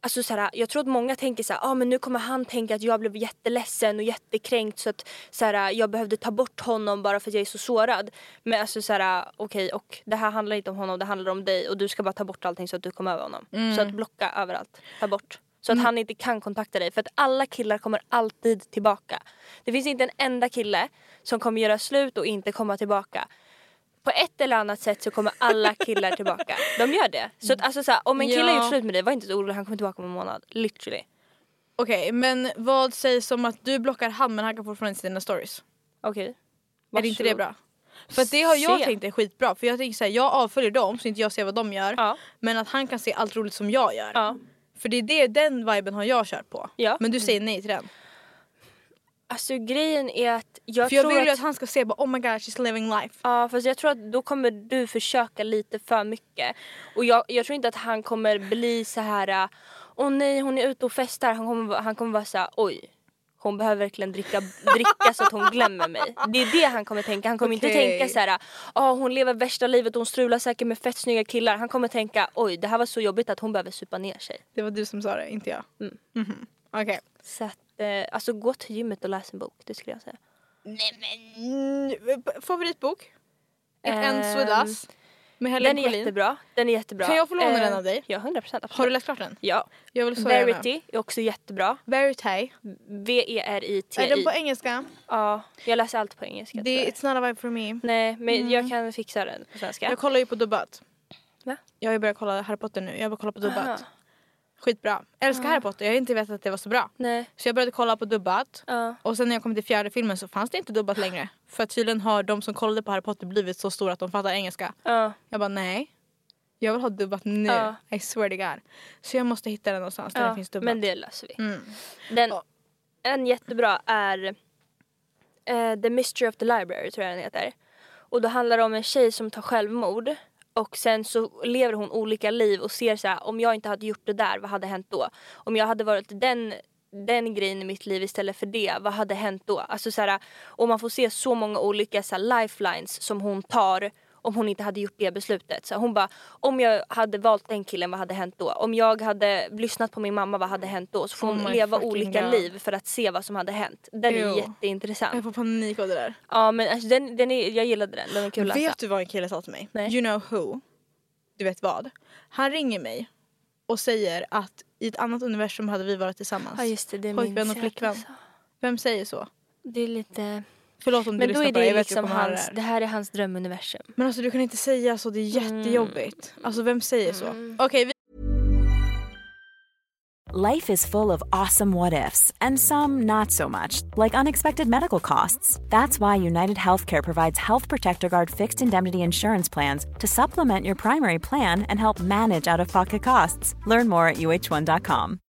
Alltså så här, jag tror att många tänker så här, ah, men nu kommer han tänka att jag blev jätteledsen och jättekränkt så att så här, jag behövde ta bort honom bara för att jag är så sårad. Men alltså så här, okej, och det här handlar inte om honom, det handlar om dig och du ska bara ta bort allting så att du kommer över honom. Så att blocka överallt, ta bort. Så att han inte kan kontakta dig för att alla killar kommer alltid tillbaka. Det finns inte en enda kille som kommer göra slut och inte komma tillbaka. På ett eller annat sätt så kommer alla killar tillbaka. De gör det. Så att alltså så här, om en kille Ja. har gjort slut med dig, var inte så orolig, han kommer tillbaka om en månad. Literally. Okej, men vad sägs om att du blockar han men han kan fortfarande se dina stories? Okej. Är det inte det bra? För att det har jag Se. tänkt är skitbra. För jag tänker såhär, jag avföljer dem så inte jag ser vad de gör. Ja. Men att han kan se allt roligt som jag gör. Ja. För det är det, den viben har jag kört på. Ja. Men du säger nej till den. Alltså grejen är att jag för jag tror vill ju att... att han ska se bara oh my god she's living life. Ja fast jag tror att då kommer du försöka lite för mycket. Och jag, jag tror inte att han kommer bli så här äh, åh nej hon är ute och festar. Han kommer, va- han kommer vara så här oj. Hon behöver verkligen dricka, dricka så att hon glömmer mig. Det är det han kommer tänka. Han kommer inte Okej. tänka så här åh hon lever värsta livet hon strular säkert med fett snygga killar. Han kommer tänka oj det här var så jobbigt att hon behöver supa ner sig. Det var du som sa det, inte jag. Mm. Mhm. Okej. Så att eh, alltså gå till gymmet och läs en bok. Det skulle jag säga. Mm, Favoritbok? It ends with eh, Ehm, us. Med Helen Den är Collin. jättebra. Den är jättebra. Kan jag få låna Eh, den av dig? Ja 100% absolut. Har du läst klart den? Ja. Jag vill så gärna. Verity är också E jättbra. Verity. V-E-R-I-T-I. Är den på engelska? Ja, jag läser allt på engelska Det, tyvärr. it's not a vibe for me. Nej, men jag kan fixa den på svenska. Jag kollar ju på dubbat. Va? Jag har ju börjat kolla Harry Potter nu. Jag har börjat kolla på dubbat. Aha. Skitbra. Älskar Harry Potter. Jag har inte vetat att det var så bra. Nej. Så jag började kolla på dubbat. Ja. Och sen när jag kom till fjärde filmen så fanns det inte dubbat längre. För att tydligen har de som kollade på Harry Potter blivit så stora att de fattar engelska. Ja. Jag bara nej. Jag vill ha dubbat nu. Ja. I swear to god. Så jag måste hitta den någonstans där ja. det finns dubbat. Men det löser vi. Mm. Den, Ja. En jättebra är eh, The Mystery of the Library tror jag den heter. Och då handlar det om en tjej som tar självmord och sen så lever hon olika liv och ser så här om jag inte hade gjort det där vad hade hänt då? Om jag hade varit den den grejen i mitt liv istället för det, vad hade hänt då? Alltså så här, och man får se så många olika så här, lifelines som hon tar om hon inte hade gjort det beslutet. Så hon bara, om jag hade valt den killen, vad hade hänt då? Om jag hade lyssnat på min mamma, vad hade hänt då? Så får hon Oh my leva fucking olika God. liv för att se vad som hade hänt. Den är Ew. Jag jätteintressant. får panik av det där. Ja men alltså, den, den är, jag gillade den, den är kul alltså. att läsa. Vet du vad en kille sa till mig? Nej. You know who? Du vet vad? Han ringer mig och säger att i ett annat universum hade vi varit tillsammans. Ja just det, det Pojkvän minns och jag flickvän. att du sa. Vem säger så? Det är lite... Förlåt om du Men då lyssnar är på det. det Jag vet liksom du kommer höra hans, det det här. här är hans drömuniversum. Men alltså du kan inte säga så, det är Mm. jättejobbigt. Alltså vem säger så? Okej, vi Life is full of awesome what ifs, and some not so much, like unexpected medical costs. That's why United Healthcare provides Health Protector Guard fixed indemnity insurance plans to supplement your primary plan and help manage out of pocket costs. Learn more at uh1.com.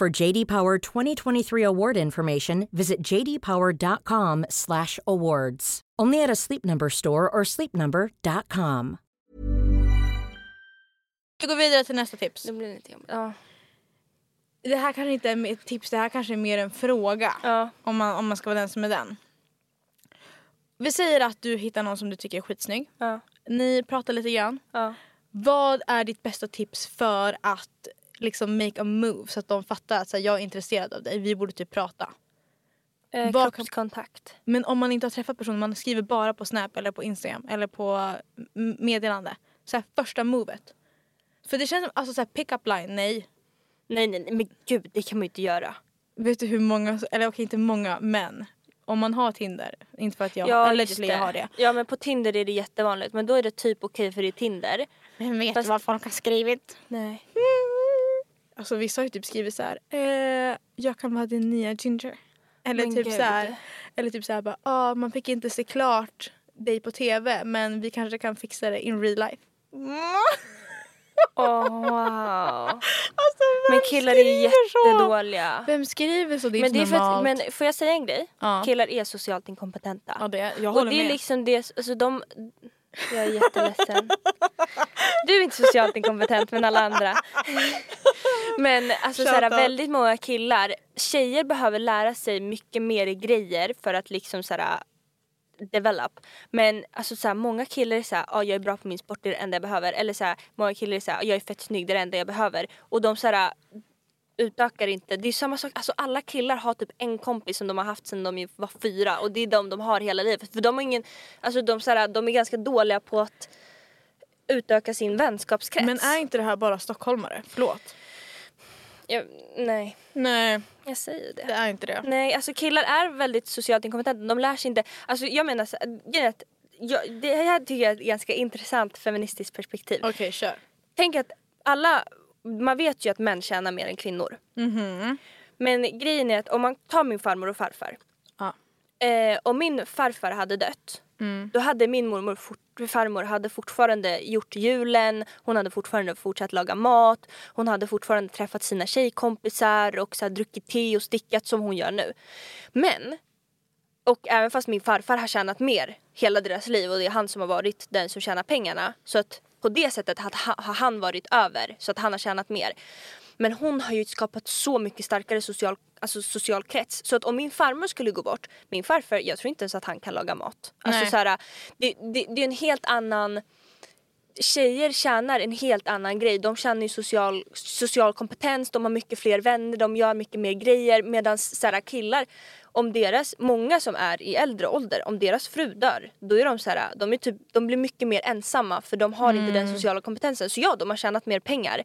For JD Power 2023 award information, visit jdpower.com/awards. Only at a Sleep Number store or sleepnumber.com. vi går vidare till nästa tips. Då blir det inte jobbigt. Ja. Det här kanske inte är ett tips, det här kanske är mer en fråga. Ja. Om, man, om man ska vara den som är den. Vi säger att du hittar någon som du tycker är skitsnygg. Ja. Ni pratar lite grann. ja. Vad är ditt bästa tips för att liksom make a move så att de fattar att så här, jag är intresserad av dig, vi borde typ prata. Eh, Vad- kroppskontakt. Men om man inte har träffat personen, man skriver bara på Snap eller på Instagram eller på m- meddelande. Så här, första movet. För det känns som, alltså så här, pick up line, nej. Nej, nej, nej, men gud, det kan man ju inte göra. Vet du hur många, eller okej inte många, men om man har Tinder, inte för att jag, Ja, just allegedly jag har det. Ja, men på Tinder är det jättevanligt. Men då är det typ okej för det är Tinder. Men vet Fast- du vad folk har skrivit? Nej. Alltså vissa har ju typ skrivit så här, eh, jag kan vara din nya ginger. Eller Men typ gud. så här, eller typ så här bara, ah, man fick inte se klart dig på tv men vi kanske kan fixa det in real life. Åh, wow. Alltså vem Men killar är ju skriver så? jättedåliga. Vem skriver så? Det är Men, det är inte för att, normalt. men får jag säga en grej? Ja. Killar är socialt inkompetenta. ja, det, jag Och håller det är med. liksom det, alltså de... Jag är jätteledsen. Du är inte socialt inkompetent men alla andra. Men alltså Shout såhär, out. väldigt många killar, tjejer behöver lära sig mycket mer i grejer för att liksom såhär develop. Men alltså såhär, många killar är såhär, ah, jag är bra på min sport, det är det enda jag behöver. Eller såhär, många killar är såhär, ah, jag är fett snygg, det är det enda jag behöver. Och de såhär utökar inte. Det är samma sak, alltså alla killar har typ en kompis som de har haft sedan de ju var fyra och det är de de har hela livet. För de har ingen, alltså de, såhär, de är ganska dåliga på att utöka sin vänskapskrets. Men är inte det här bara stockholmare? Förlåt. jag, nej, Nej, jag säger det. det är inte det. Nej, alltså killar är väldigt socialt inkompetenta. De lär sig inte. Alltså jag menar, så- grejen är att jag, det här tycker jag är ett ganska intressant feministiskt perspektiv. Okej, kör. Tänk att alla, man vet ju att män tjänar mer än kvinnor. Men grejen är att om man tar min farmor och farfar. Ja. Eh, om min farfar hade dött då hade min mormor fort, farmor hade fortfarande gjort julen, hon hade fortfarande fortsatt laga mat, hon hade fortfarande träffat sina tjejkompisar och så här, druckit te och stickat som hon gör nu. Men, och även fast min farfar har tjänat mer hela deras liv och det är han som har varit den som tjänar pengarna så att på det sättet har ha- har han varit över så att han har tjänat mer. Men hon har ju skapat så mycket starkare social, alltså social krets. Så att om min farmor skulle gå bort, min farfar, jag tror inte ens att han kan laga mat. Alltså Nej. så här, det, det, det är en helt annan... Tjejer tjänar en helt annan grej. De tjänar ju social, social kompetens, de har mycket fler vänner, de gör mycket mer grejer. Medan så här, killar, om deras, många som är i äldre ålder, om deras fru dör, då är de så här, de, är typ, de blir mycket mer ensamma för de har inte den sociala kompetensen. Så ja, de har tjänat mer pengar.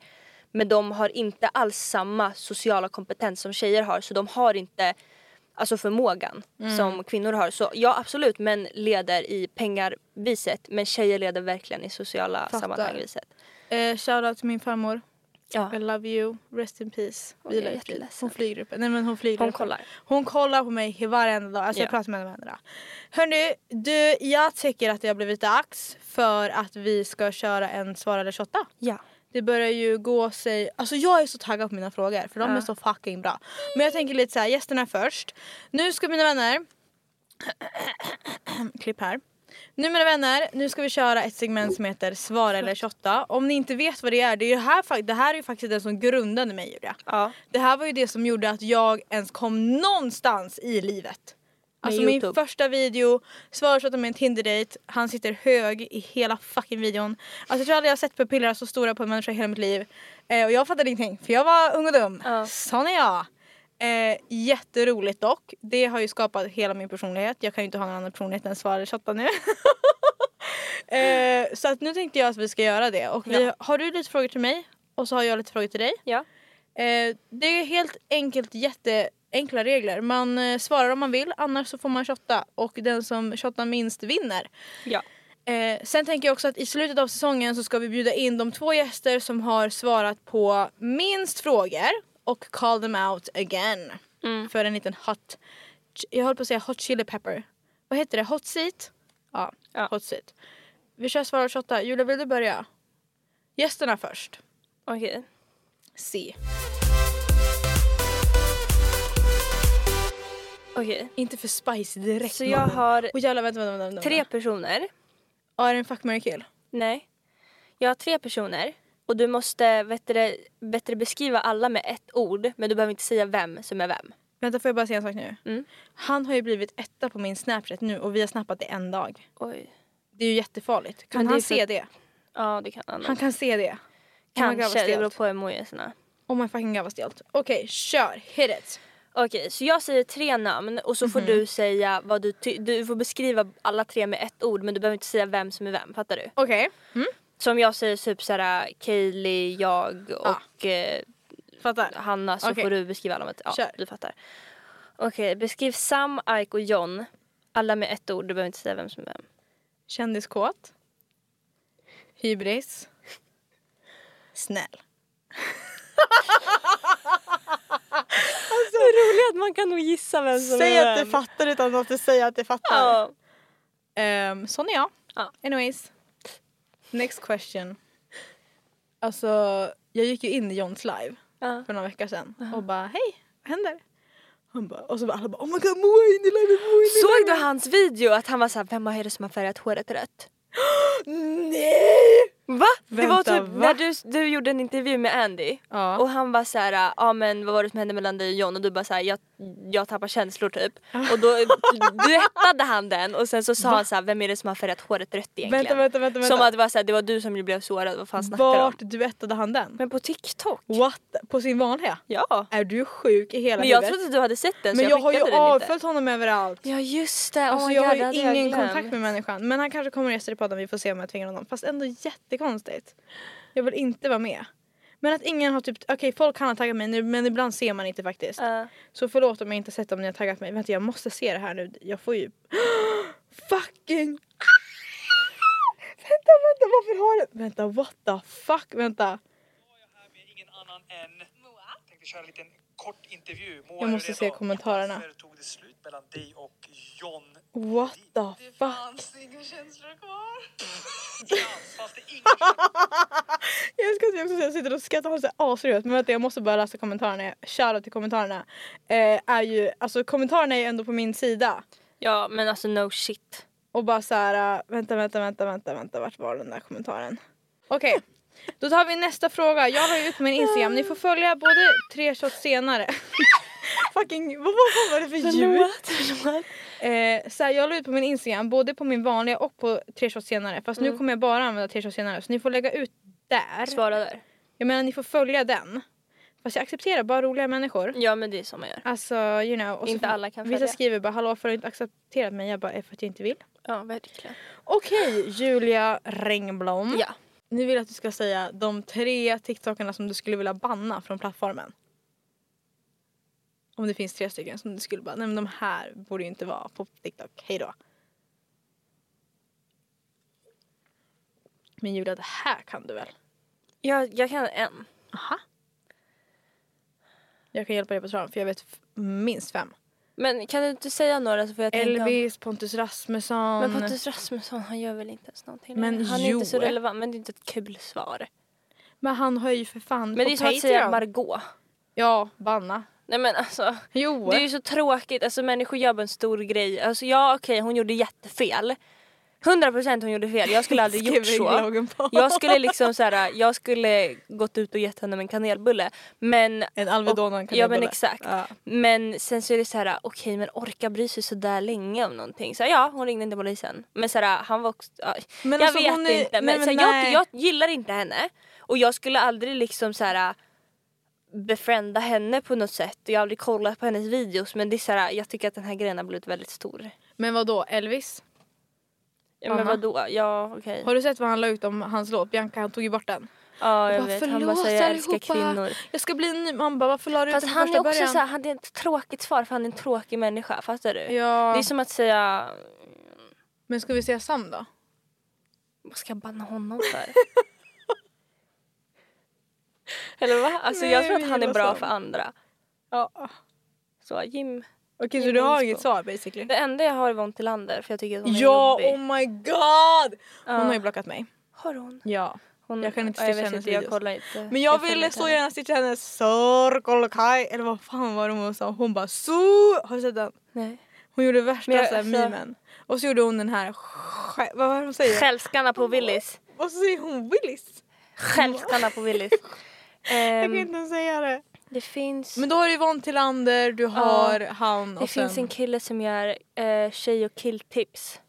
Men de har inte alls samma sociala kompetens som tjejer har så de har inte alltså förmågan som kvinnor har. Så ja absolut män leder i pengar viset men tjejer leder verkligen i sociala sammanhang viset. Eh, Shoutout till min farmor. Ja. I love you, rest in peace. Oj, Vila jag är i frid. jätteledsen. Hon flyger upp. Nej men hon flyger Hon upp. kollar. Hon kollar på mig varenda dag. Alltså Ja. jag pratar med henne varenda dag. Hörni, du jag tycker att det har blivit dags för att vi ska köra en svara eller shotta. ja. Det börjar ju gå sig... Alltså jag är så taggad på mina frågor för de Ja. är så fucking bra. Men jag tänker lite så här, gästerna först. Nu ska mina vänner... Klipp här. Nu mina vänner, nu ska vi köra ett segment som heter svara eller shotta. Om ni inte vet vad det är, det, är ju här, fa- det här är ju faktiskt den som grundade mig Julia. Ja. Det här var ju det som gjorde att jag ens kom någonstans i livet. Alltså min YouTube. första video, svarade med en Tinder-date, han sitter hög i hela fucking videon. Alltså jag tror aldrig jag har sett pupiller så stora på en människa i hela mitt liv. Eh, och jag fattade ingenting för jag var ung och dum. Ja. Sån är jag. Eh, jätteroligt dock. Det har ju skapat hela min personlighet. Jag kan ju inte ha någon annan personlighet än svarare chatta nu. eh, så att nu tänkte jag att vi ska göra det. Och vi, Ja. Har du lite frågor till mig? Och så har jag lite frågor till dig. Ja. Eh, det är helt enkelt jätteenkla regler. Man eh, svarar om man vill, annars så får man shotta. Och den som shottar minst vinner. Ja. Eh, sen tänker jag också att i slutet av säsongen så ska vi bjuda in de två gäster som har svarat på minst frågor och call them out again. Mm. För en liten hot, jag höll på att säga hot chili pepper. Vad heter det? Hot seat? Ja, Ja. hot seat. Vi kör svara och shotta. Julia vill du börja? Gästerna först. Okej. C. Okej. Inte för spicy direkt. Så jag mannen. har Åh jävlar vänta vänta vänta. vänta. Tre personer. Ja är det en fuck marry kill? Nej. Jag har tre personer och du måste bättre, bättre beskriva alla med ett ord men du behöver inte säga vem som är vem. Vänta får jag bara säga en sak nu? Mm. Han har ju blivit etta på min snapchat nu och vi har snappat det en dag. Oj. Det är ju jättefarligt. Kan Men det han är för- se det? Ja det kan han. Han kan se det. Oh my god, vad Kanske, det stelt. beror på emojisarna. Oh my fucking god vad stelt. Okej kör, hit it. Okej, så jag säger tre namn och så får Mhm. du säga vad du ty- Du får beskriva alla tre med ett ord men du behöver inte säga vem som är vem, fattar du? Okej. Mm. Som jag säger typ såhär Kaeli, jag och eh, Fattar. Hanna så Okej. får du beskriva alla med ett... Ja, Kör. du fattar. Okej, beskriv Sam, Ike och John. Alla med ett ord, du behöver inte säga vem som är vem. Kändiskåt. Hybris. Snäll. Det roliga är att man kan nog gissa vem Säg att du fattar utan att du säger att du fattar. Ja. Um, sån är jag. Ja. Anyways. Next question. Alltså, jag gick ju in i Johns live Ja. för några veckor sedan och bara hej, vad händer? Hon bara, och så bara alla bara oh my god Moa är inne i live, Moa är inne i Såg du hans video att han var såhär, vem är det som har färgat håret rött? live." Nej! Va? det var Vänta, typ va? när du, du gjorde en intervju med Andy Ja. och han var så här, ja ah, men vad var det som hände mellan dig och John och du bara så här, jag, jag tappar känslor typ. Och då duettade han den och sen så sa han så här, vem är det som har färgat håret rött egentligen? Vänta, vänta, vänta, vänta. Som att det var så här, det var du som ju blev sårad, vad fan snackar du om? Vart duettade han den? Men på TikTok? What? På sin vanliga? Ja. Är du sjuk i hela Men jag huvudet? trodde att du hade sett den Men så jag jag, har ju skickade den inte. avföljt honom överallt. Ja just det, Alltså oh my jag God, har det hade ju jag ingen glömt. kontakt med människan. Men han kanske kommer gäster i podden, vi får se om jag tvingar honom. Fast ändå jättekonstigt. Jag vill inte vara med. Men att ingen har typ, okej folk kan ha taggat mig nu men ibland ser man inte faktiskt. Ja. Så förlåt om jag inte sett om ni har taggat mig. Vänta jag måste se det här nu. Jag får ju... Fucking... vänta, vänta varför har du... Vänta what the fuck, vänta. här med ingen annan än Moa. Tänkte köra en liten kort intervju. Moa Jag är måste se redo. kommentarerna. Varför tog det slut mellan dig och John? What the fuck. inga känslor kvar. Fanns, fanns det inga känslor? Jag älskar att vi också så- sitter och skrattar och har så här asröt. Men vänta jag måste bara läsa kommentarerna. Shoutout till kommentarerna. Eh, är ju, alltså kommentarerna är ju ändå på min sida. Ja men alltså no shit. Och bara så här, äh, vänta, vänta, vänta, vänta, vänta, vart var den där kommentaren? Okej, då tar vi nästa fråga. Jag har ju ut min Instagram, ni får följa både tre shots senare. Fucking, vad, vad, vad var det för ljud? Eh, så här, jag la ut på min Instagram, både på min vanliga och på tre shots senare. Fast nu kommer jag bara använda tre shots senare, så ni får lägga ut där. Svara där. Jag menar ni får följa den. Fast jag accepterar bara roliga människor. Ja men det är så man gör. Alltså you know. och så Mm. Inte får- alla kan Vissa följa. skriver bara hallå för du inte accepterat mig? Jag bara "Eh, för att jag inte vill. Ja verkligen. Okej Julia Regnblom. Mm. Ja. Nu vill jag att du ska säga de tre TikTokarna som du skulle vilja banna från plattformen. Om det finns tre stycken som du skulle bara, nej men de här borde ju inte vara på TikTok, hej då. Men Julia, det här kan du väl? Jag, jag kan en. Aha. Jag kan hjälpa dig på traven för jag vet f- minst fem. Men kan du inte säga några så får jag tänka om- Elvis, Pontus Rasmusson. Men Pontus Rasmusson han gör väl inte ens någonting Men längre. Han är jo. inte så relevant men det är inte ett kul svar. Men han har ju för fan Men det är som att säga Margot. Ja, banna. Nej men alltså. Jo. Det är ju så tråkigt, alltså människor gör bara en stor grej. Alltså ja okej hon gjorde jättefel. 100% hon gjorde fel, jag skulle aldrig gjort Skriver så. inloggen på. Jag skulle liksom så här, jag skulle gått ut och gett henne en kanelbulle. Men En Alvedon och en Ja men kanelbulle. exakt. Ja. Men sen så är det så här, okej men orka bry sig så där länge om någonting. Så här, ja hon ringde inte polisen. Men så här, han var också, ja, Men jag alltså, vet hon är- inte. Men, nej, men så här, nej. jag, jag gillar inte henne. Och jag skulle aldrig liksom så här befrända henne på något sätt. Jag har aldrig kollat på hennes videos men det är så här, jag tycker att den här grejen har blivit väldigt stor. Men vad då Elvis? Ja, men Anna? vadå? Ja okej. Har du sett vad han la ut om hans låt? Bianca, han tog ju bort den. Ja jag bara, vet. Han bara säger jag älskar kvinnor. Jag ska bli en ny mamma, varför la du ut Fast den han är första också början? så här, han är ett tråkigt svar för han är en tråkig människa. Fattar du? Ja. Det är som att säga Men ska vi säga Sam då? Vad ska jag banna honom för? Eller va? Alltså Nej, jag tror vi att han är gillar bra sånt. för andra. Ja. Så Jim. Okej så Jim du har Winston. inget svar basically? Det enda jag har är Von Tillander för jag tycker att hon är Ja, jobbig. oh my god! Hon Ja. har ju blockat mig. Har hon? Ja. hon? Jag kan inte ja, stitcha vet hennes Jag videos. kollar inte. Men jag, följer ville inte så henne. gärna stitcha hennes Circle Kai eller vad fan var det hon sa? Hon bara so Har du sett den? Nej. Hon gjorde värsta Men jag- så här, alltså- memen. Och så gjorde hon den här sj- vad var det hon säger? Självskanna på Willys. Och så säger hon Willis. Självskanna på Willys. Jag kan Ehm, inte ens säga det. det finns, Men då har du Yvonne Tillander, du har han och det sen... finns en kille som gör eh, tjej och killtips.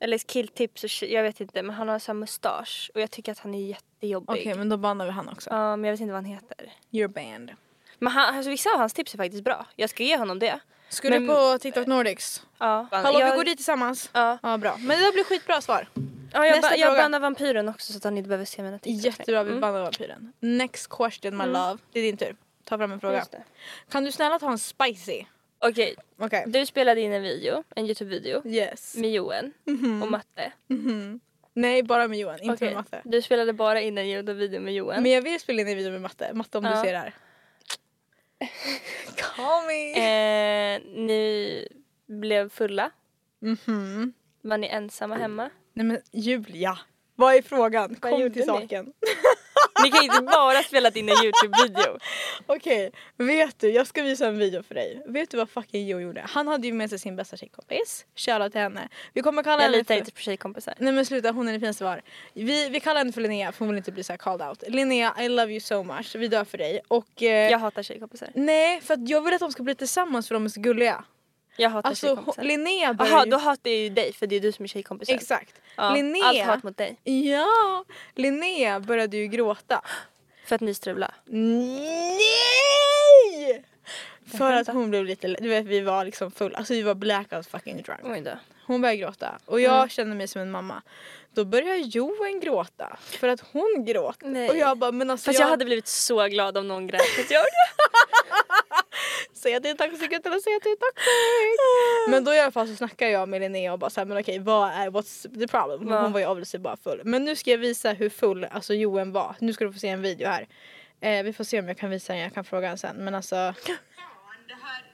Eller killtips och tjej, jag vet inte men han har så här mustasch och jag tycker att han är jättejobbig. Okej men då bannar vi han också. Ja, men jag vet inte vad han heter. Your band. Men han, alltså, vissa av hans tips är faktiskt bra. Jag ska ge honom det. Ska du Men- på TikTok Nordics? Ja. Hallå jag, vi går dit tillsammans. Ja. Ja bra. Men det där blir skitbra svar. Ja, jag, Nästa ba, jag fråga. bannar vampyren också så att han inte behöver se mina Mm. TikToks. Jättebra, vi bannar vampyren. Next question my love. Det är din tur. Ta fram en fråga. Mm. Just det. Kan du snälla ta en spicy? Okej, Okej. du spelade in en video, en Youtube-video Yes. med Johan och matte. Nej, bara med Johan, inte Okej, med matte. Du spelade bara in en Youtube-video med Johan. Men jag vill spela in en video med matte. Matte om du Ja. ser det här. Call me! Eh, ni blev fulla. Mm-hmm. Var ni ensamma hemma? Nej men Julia, vad är frågan? Vad Kom gjorde till ni? saken. Ni kan inte bara spela in en Youtube-video. Okej, vet du, jag ska visa en video för dig. Vet du vad fucking Joe gjorde? Han hade ju med sig sin bästa tjejkompis. Shoutout till henne. Vi kommer kalla Jag henne litar för- inte på tjejkompisar. Nej men sluta, hon är det finaste vi har. Vi, vi kallar henne för Linnea för hon vill inte bli så här called out. Linnea, I love you so much. Vi dör för dig. Och, eh, Jag hatar tjejkompisar. Nej, för att jag vill att de ska bli tillsammans för de är så gulliga. Jag hatar Alltså tjejkompisar. hon- Linnea börjar Jaha, ju... då hatar jag ju dig för det är du som är tjejkompisen. Exakt. Ja, Allt Linnea... hat mot dig. Ja, Linnea började ju gråta. För att ni strulade. Nej! För att hon blev lite, du vet vi var liksom fulla, alltså vi var blackout fucking drunk. Oj då. Hon började gråta och jag kände mig som en mamma. Då började Joen gråta för att hon gråt. Nej. Och jag bara men alltså Fast jag hade blivit så glad om någon grät. att jag gjorde. säga till taxigutterna, säga till taxi. men då i alla fall så snackade jag med Linnea och bara såhär men okej vad är what's the problem? Va? Hon var ju obviously bara full. Men nu ska jag visa hur full alltså Joen var. Nu ska du få se en video här. Eh, vi får se om jag kan visa den, jag kan fråga den sen. Men alltså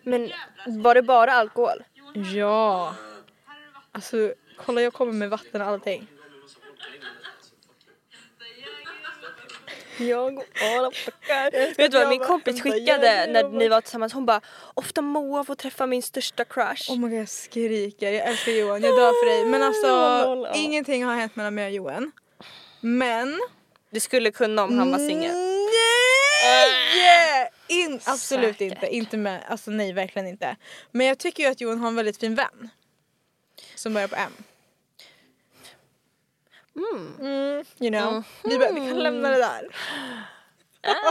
Men var det bara alkohol? Ja. Alltså, kolla jag kommer med vatten och allting. Jag och alla fuckar. Vet du jag vad min bara, kompis vänta, skickade jag- när jag ni var tillsammans? Hon bara ofta Moa får träffa min största crush. Oh my god, jag skriker. Jag älskar Johan, jag dör för dig. Men alltså, Lol, ja. ingenting har hänt mellan mig och Johan. Men... Det skulle kunna om han var singel. Nej! In, absolut Äh. Säkert. inte. inte med, alltså, nej, verkligen inte. Men jag tycker ju att Johan har en väldigt fin vän. Som börjar på M. Mm, you know. Vi, bara, vi Mm-hmm. kan lämna det där.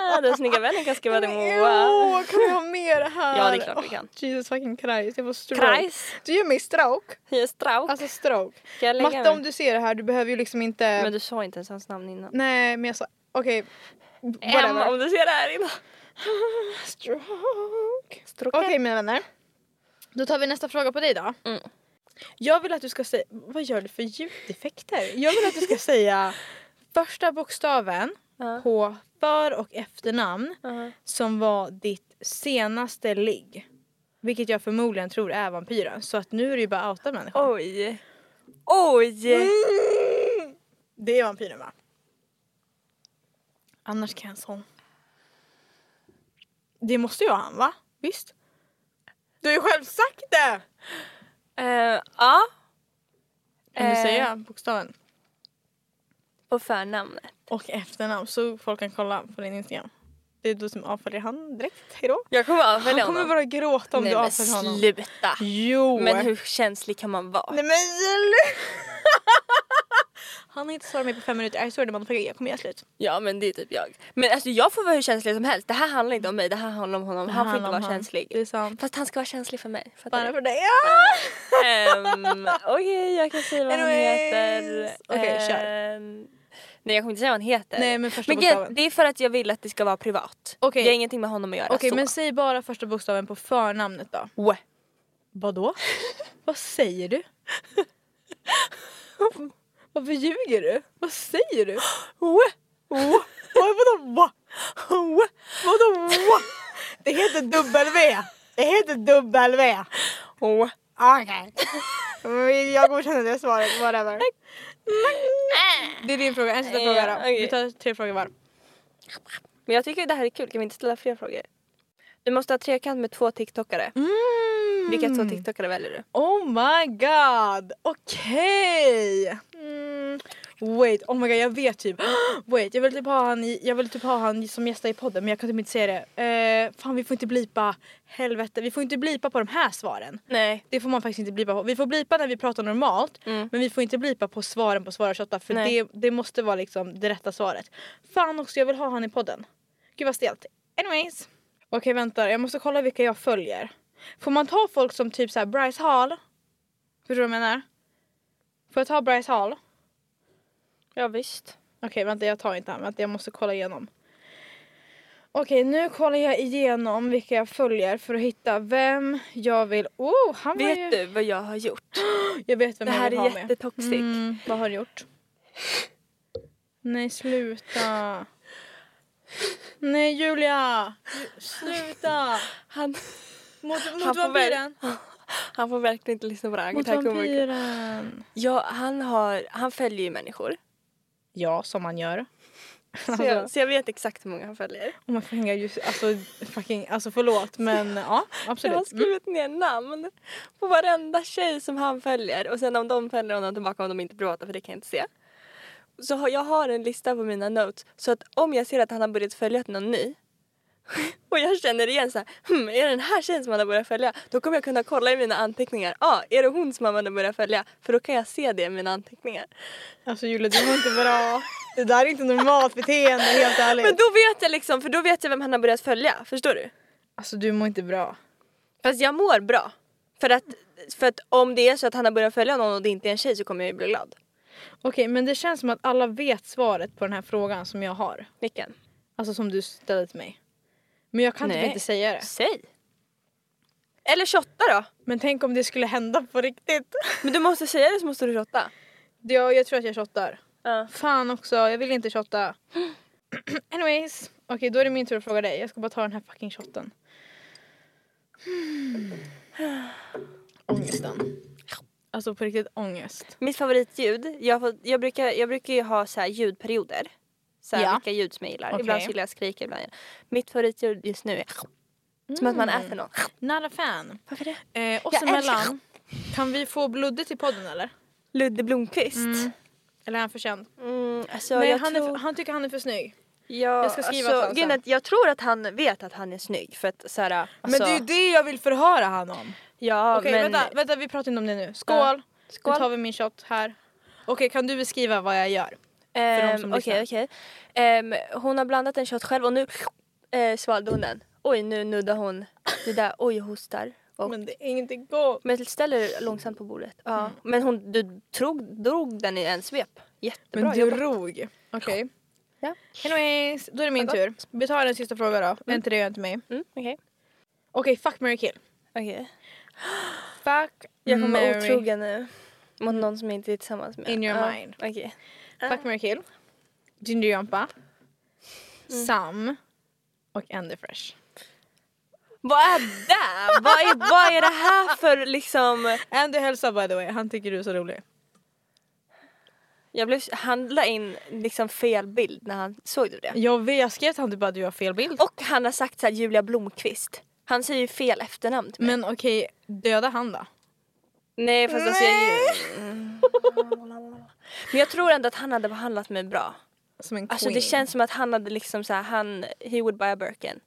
Ah, den snygga vännen kan skriva det Moa. Åh, kan vi ha med det här? Ja, det är klart vi kan. Åh, Jesus fucking Christ, jag får stroke. Kreis. Du ger mig stroke. Jag är strauk. Alltså stroke. Kan jag lägga Matte om mig? du ser det här, du behöver ju liksom inte... Men du sa inte ens hans namn innan. Nej men jag sa... Okej. Emma Whatever. om du ser det här innan. Stroke. Okej mina vänner. Då tar vi nästa fråga på dig då. Mm. Jag vill att du ska säga... Vad gör du för ljudeffekter? Jag vill att du ska säga första bokstaven Ja. på för och efternamn Ja. som var ditt senaste ligg. Vilket jag förmodligen tror är vampyren. Så att nu är det ju bara att outa människan. Oj. Oj! Det är vampyren va? Annars kan jag en sån. Det måste ju vara han va? Visst? Du har ju själv sagt det! Eh, ja, Kan du Eh. säga bokstaven? på förnamnet. Och efternamn så folk kan kolla på din Instagram. Det är du som avföljer han direkt. Hejdå. Jag kommer avfölja Han kommer honom. bara gråta om Nej du men avföljer honom. sluta. Jo! Men hur känslig kan man vara? Nej men sluta! han har inte svarat mig på fem minuter. I swear to motherfucker, jag kommer göra slut. Ja men det är typ jag. Men alltså jag får vara hur känslig som helst. Det här handlar inte om mig, det här handlar om honom. Han får inte handlar om vara han. Det är känslig. sant. Fast han ska vara känslig för mig. Fattar Bara du? för dig. Ah! Ehm, Okej jag kan säga vad han Anyways. heter. Okej, kör. Ehm, Nej jag kommer inte säga vad han heter. Nej, men första grejen- bokstaven. det är för att jag vill att det ska vara privat. Okej. Det har ingenting med honom att göra. Okej så. men säg bara första bokstaven på förnamnet då. Wä. Vadå? Vad säger du? Varför ljuger du? Vad säger du? Wä. Vad- Vadå va? Wä. Vadå va? Det heter W. Det heter W. Wä. Okej. Jag godkänner det svaret, whatever. Det är din fråga, en sista Ja, fråga då. okej. Vi tar tre frågor var. Men jag tycker det här är kul, kan vi inte ställa fler frågor? Du måste ha trekant med två tiktokare. Vilka två tiktokare väljer du? Oh my god! Okej! Mm. Wait, oh my god jag vet typ. Wait, jag vill typ ha han, i, jag vill typ ha han som gästar i podden men jag kan typ inte säga det. Eh, fan vi får inte blipa, helvete. Vi får inte blipa på de här svaren. Nej. Det får man faktiskt inte blipa på. Vi får blipa när vi pratar normalt Mm. men vi får inte blipa på svaren på svara 28 för Nej. det, det måste vara liksom det rätta svaret. Fan också jag vill ha han i podden. Gud vad stelt. Anyways. Okej vänta jag måste kolla vilka jag följer. Får man ta folk som typ så här Bryce Hall? Förstår du vad jag menar? Får jag ta Bryce Hall? Ja visst. Okej vänta jag tar inte han, vänta jag måste kolla igenom. Okej nu kollar jag igenom vilka jag följer för att hitta vem jag vill... Oh han var ju... Vet du vad jag har gjort? Jag vet vem Det här jag vill är ha med. jättetoxic. Mm, vad har du gjort? Nej sluta. Nej Julia! Ju- Sluta! Han, Mot, Han mot får väl- vampyren! han får verkligen inte lyssna på det här. Mot Tack och mycket. vampyren! Ja, han, har, han följer ju människor. Ja, som man gör. Så jag, så jag vet exakt hur många han följer. Oh my fucking god, just, alltså, fucking, alltså förlåt men ja Jag har absolut. Mm. skrivit ner namn på varenda tjej som han följer och sen om de följer honom tillbaka om de inte är privata för det kan jag inte se. Så har, jag har en lista på mina notes så att om jag ser att han har börjat följa någon ny och jag känner igen så här, hmm, är det den här tjejen som han har börjat följa? Då kommer jag kunna kolla i mina anteckningar. Ja, ah, är det hon som han har börjat följa? För då kan jag se det i mina anteckningar. Alltså Julia du mår inte bra. Det där är inte normalt beteende helt ärligt. Men då vet jag liksom, för då vet jag vem han har börjat följa. Förstår du? Alltså du mår inte bra. Fast jag mår bra. För att, för att om det är så att han har börjat följa någon och det inte är en tjej så kommer jag ju bli glad. Okej men det känns som att alla vet svaret på den här frågan som jag har. Vilken? Alltså som du ställde till mig. Men jag kan typ Nej. inte säga det. Säg! Eller 28 då. Men tänk om det skulle hända på riktigt. Men du måste säga det så måste du 28. Ja, jag tror att jag shottar. Ja. Fan också, jag vill inte shotta. Anyways. Okej, då är det min tur att fråga dig. Jag ska bara ta den här fucking shotten. Hmm. Ångesten. Alltså på riktigt ångest. Mitt favoritljud, jag, får, jag, brukar, jag brukar ju ha så här ljudperioder. Så här Ja. vilka ljud som jag gillar. Okej. Ibland så gillar jag skrika, ibland Mitt favoritljud just nu är som att man Mm. äter något. Not a fan. Varför det? Eh, oss Jag emellan, älskar- kan vi få Bludde till podden eller? Ludde Blomqvist. Mm. Eller är han för känd? alltså, Nej, jag han, är tror- för, han tycker han är för snygg. Ja, Jag ska skriva till honom alltså, grejen är sen. att jag tror att han vet att han är snygg för att så här, alltså, det jag vill förhöra han om. Ja Okej, men vänta, vänta, vi pratar inte om det nu. Skål! Ja. Nu Skål. tar vi min shot här. Okej, kan du beskriva vad jag gör? de som Ehm, lyssnar. Okej, okej. Ehm, hon har blandat en shot själv och nu eh, svalde hon den. Oj, nu nuddar hon det där. Oj, jag hostar. Och, men, Men Mm. det är ingenting gott. jag ställer långsamt på bordet. Ja. Men hon, du trog, drog den i en svep. Jättebra jobbat. rog. Okej. Ja. Anyways, då är det min Vad tur. Vi tar en sista fråga då. En till dig och en till mig. Okej, Mm, okej. fuck, marry, kill. Okej. Fuck, Jag kommer vara marry- otrogen nu. Mot någon som jag inte är tillsammans med. Mm. In your Ja, mind. Okej. Fuck, marry, kill. Gingerjompa. Mm. Sam. Och Andy Fresh. Vad är det? vad, är, vad är det här för liksom... Andy hälsar by the way, han tycker du är så rolig. Jag blev, han la in liksom fel bild när han såg du det. Jag, vet, jag skrev till honom typ att du har fel bild. Och han har sagt så här, Julia Blomqvist. Han säger ju fel efternamn till mig. Men okej, döda han då? Nej fast alltså jag ju... Men jag tror ändå att han hade behandlat mig bra. Som en queen. Alltså det känns som att han hade liksom så här, han, he would buy a Birkin.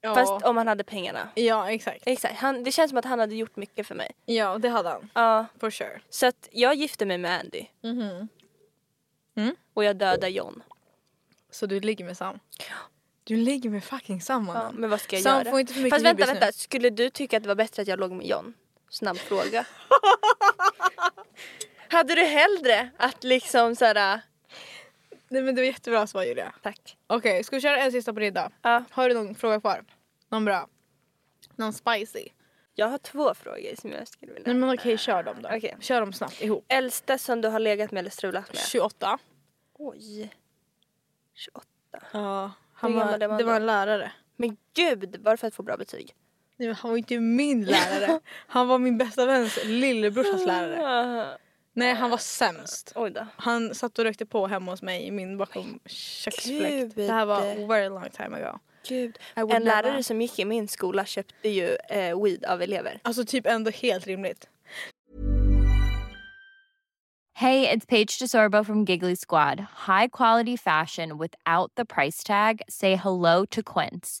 ja. Fast om han hade pengarna. Ja, exakt. Exakt, han, det känns som att han hade gjort mycket för mig. Ja, det hade han. Ja, For sure. så att jag gifte mig med Andy. Mhm. Mm. Och jag dödar John. Så du ligger med Sam? Du ligger med fucking Sam Ja, mannen. men vad ska jag Sam göra? får inte för mycket Fast vänta, hybris nu. vänta. Skulle du tycka att det var bättre att jag låg med John? Snabb fråga. Hade du hellre att liksom såhär... Nej men det var jättebra svar Julia. Tack. Okej, ska vi köra en sista på dig idag? Ja. Har du någon fråga kvar? Någon bra? Någon spicy? Jag har två frågor som jag skulle vilja... Nej men okej, kör dem då. Okej. Kör dem snabbt ihop. Äldsta som du har legat med eller strulat med? 28. Oj. 28. Ja. Han Hur var, gammal är man det var då? en lärare. Men gud, bara för att få bra betyg. Nej, men han var inte min lärare. Han var min bästa väns lillebrorsas lärare. Ah, Nej han var sämst. Oj då. Han satt och rökte på hemma hos mig i min bakom köksfläkt. Gud. Det här var very long time ago. Gud. I En would never. lärare som gick i min skola köpte ju eh, weed av elever. Alltså typ ändå helt rimligt. Hey, it's Paige DeSorbo from Giggly Squad. High quality fashion without the price tag. Say hello to Quince.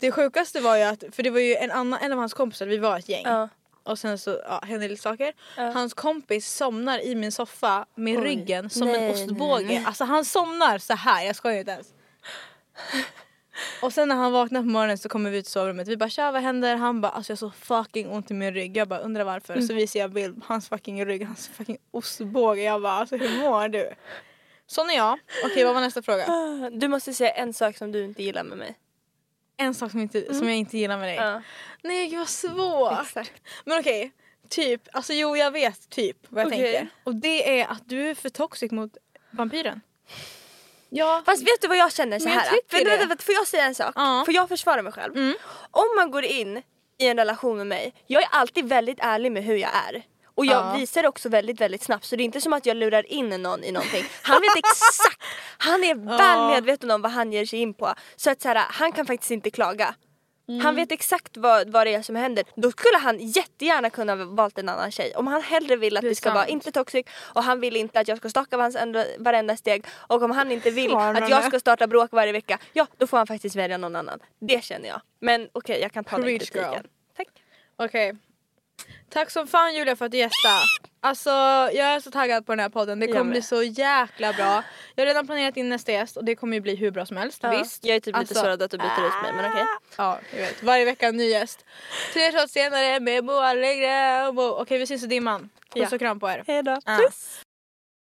Det sjukaste var ju att, för det var ju en annan, en av hans kompisar, vi var ett gäng. Ja. Och sen så ja, hände lite saker. Hans kompis somnar i min soffa med Oj. ryggen som en Nej, ostbåge. nej, nej. Alltså han somnar så här, jag skojar inte ens. Och sen när han vaknar på morgonen så kommer vi ut i sovrummet. Vi bara tja vad händer? Han bara alltså jag har så fucking ont i min rygg. Jag bara undrar varför. Mm. Så visar jag bild på hans fucking rygg, hans fucking ostbåge. Jag bara alltså hur mår du? Sån är jag. Okej vad var nästa fråga? Du måste säga en sak som du inte gillar med mig. En sak som, inte, som jag inte gillar med dig. Mm. Ja. Nej gud vad svårt. Exakt. Men okej. Typ, alltså jo jag vet typ vad jag Okej. tänker. Och det är att du är för toxic mot vampyren. Ja. Fast vet du vad jag känner så Men jag här? tycker vänta, det. vänta, vänta, får jag säga en sak? Ja. Mm. Får jag försvara mig själv? Om man går in i en relation med mig, jag är alltid väldigt ärlig med hur jag är. Och jag Ja. visar det också väldigt väldigt snabbt så det är inte som att jag lurar in någon i någonting. Han vet exakt, han är väl medveten om vad han ger sig in på. Så att så här, han kan faktiskt inte klaga. Mm. Han vet exakt vad, vad det är som händer. Då skulle han jättegärna kunna ha valt en annan tjej. Om han hellre vill att Det det, är ska vara sant. inte toxic och han vill inte att jag ska staka hans andra, varenda steg och om han inte vill Svarar att jag med. ska starta bråk varje vecka, ja då får han faktiskt välja någon annan. Det känner jag. Men okej, jag kan ta den Preach, girl. kritiken. Tack. Okej. Tack som fan Julia för att du gästade. Alltså jag är så taggad på den här podden. Det Jag kommer med. bli så jäkla bra. Jag har redan planerat in nästa gäst och det kommer ju bli hur bra som helst. Visst? Jag är typ Alltså, lite sårad att du byter ut mig men okej. Ja, jag vet. Varje vecka en ny gäst. Tre shots senare med Moa Allegre. och Mo- Okej, vi syns i dimman. Puss Ja. och kram på er. Hejdå. Ja. Puss.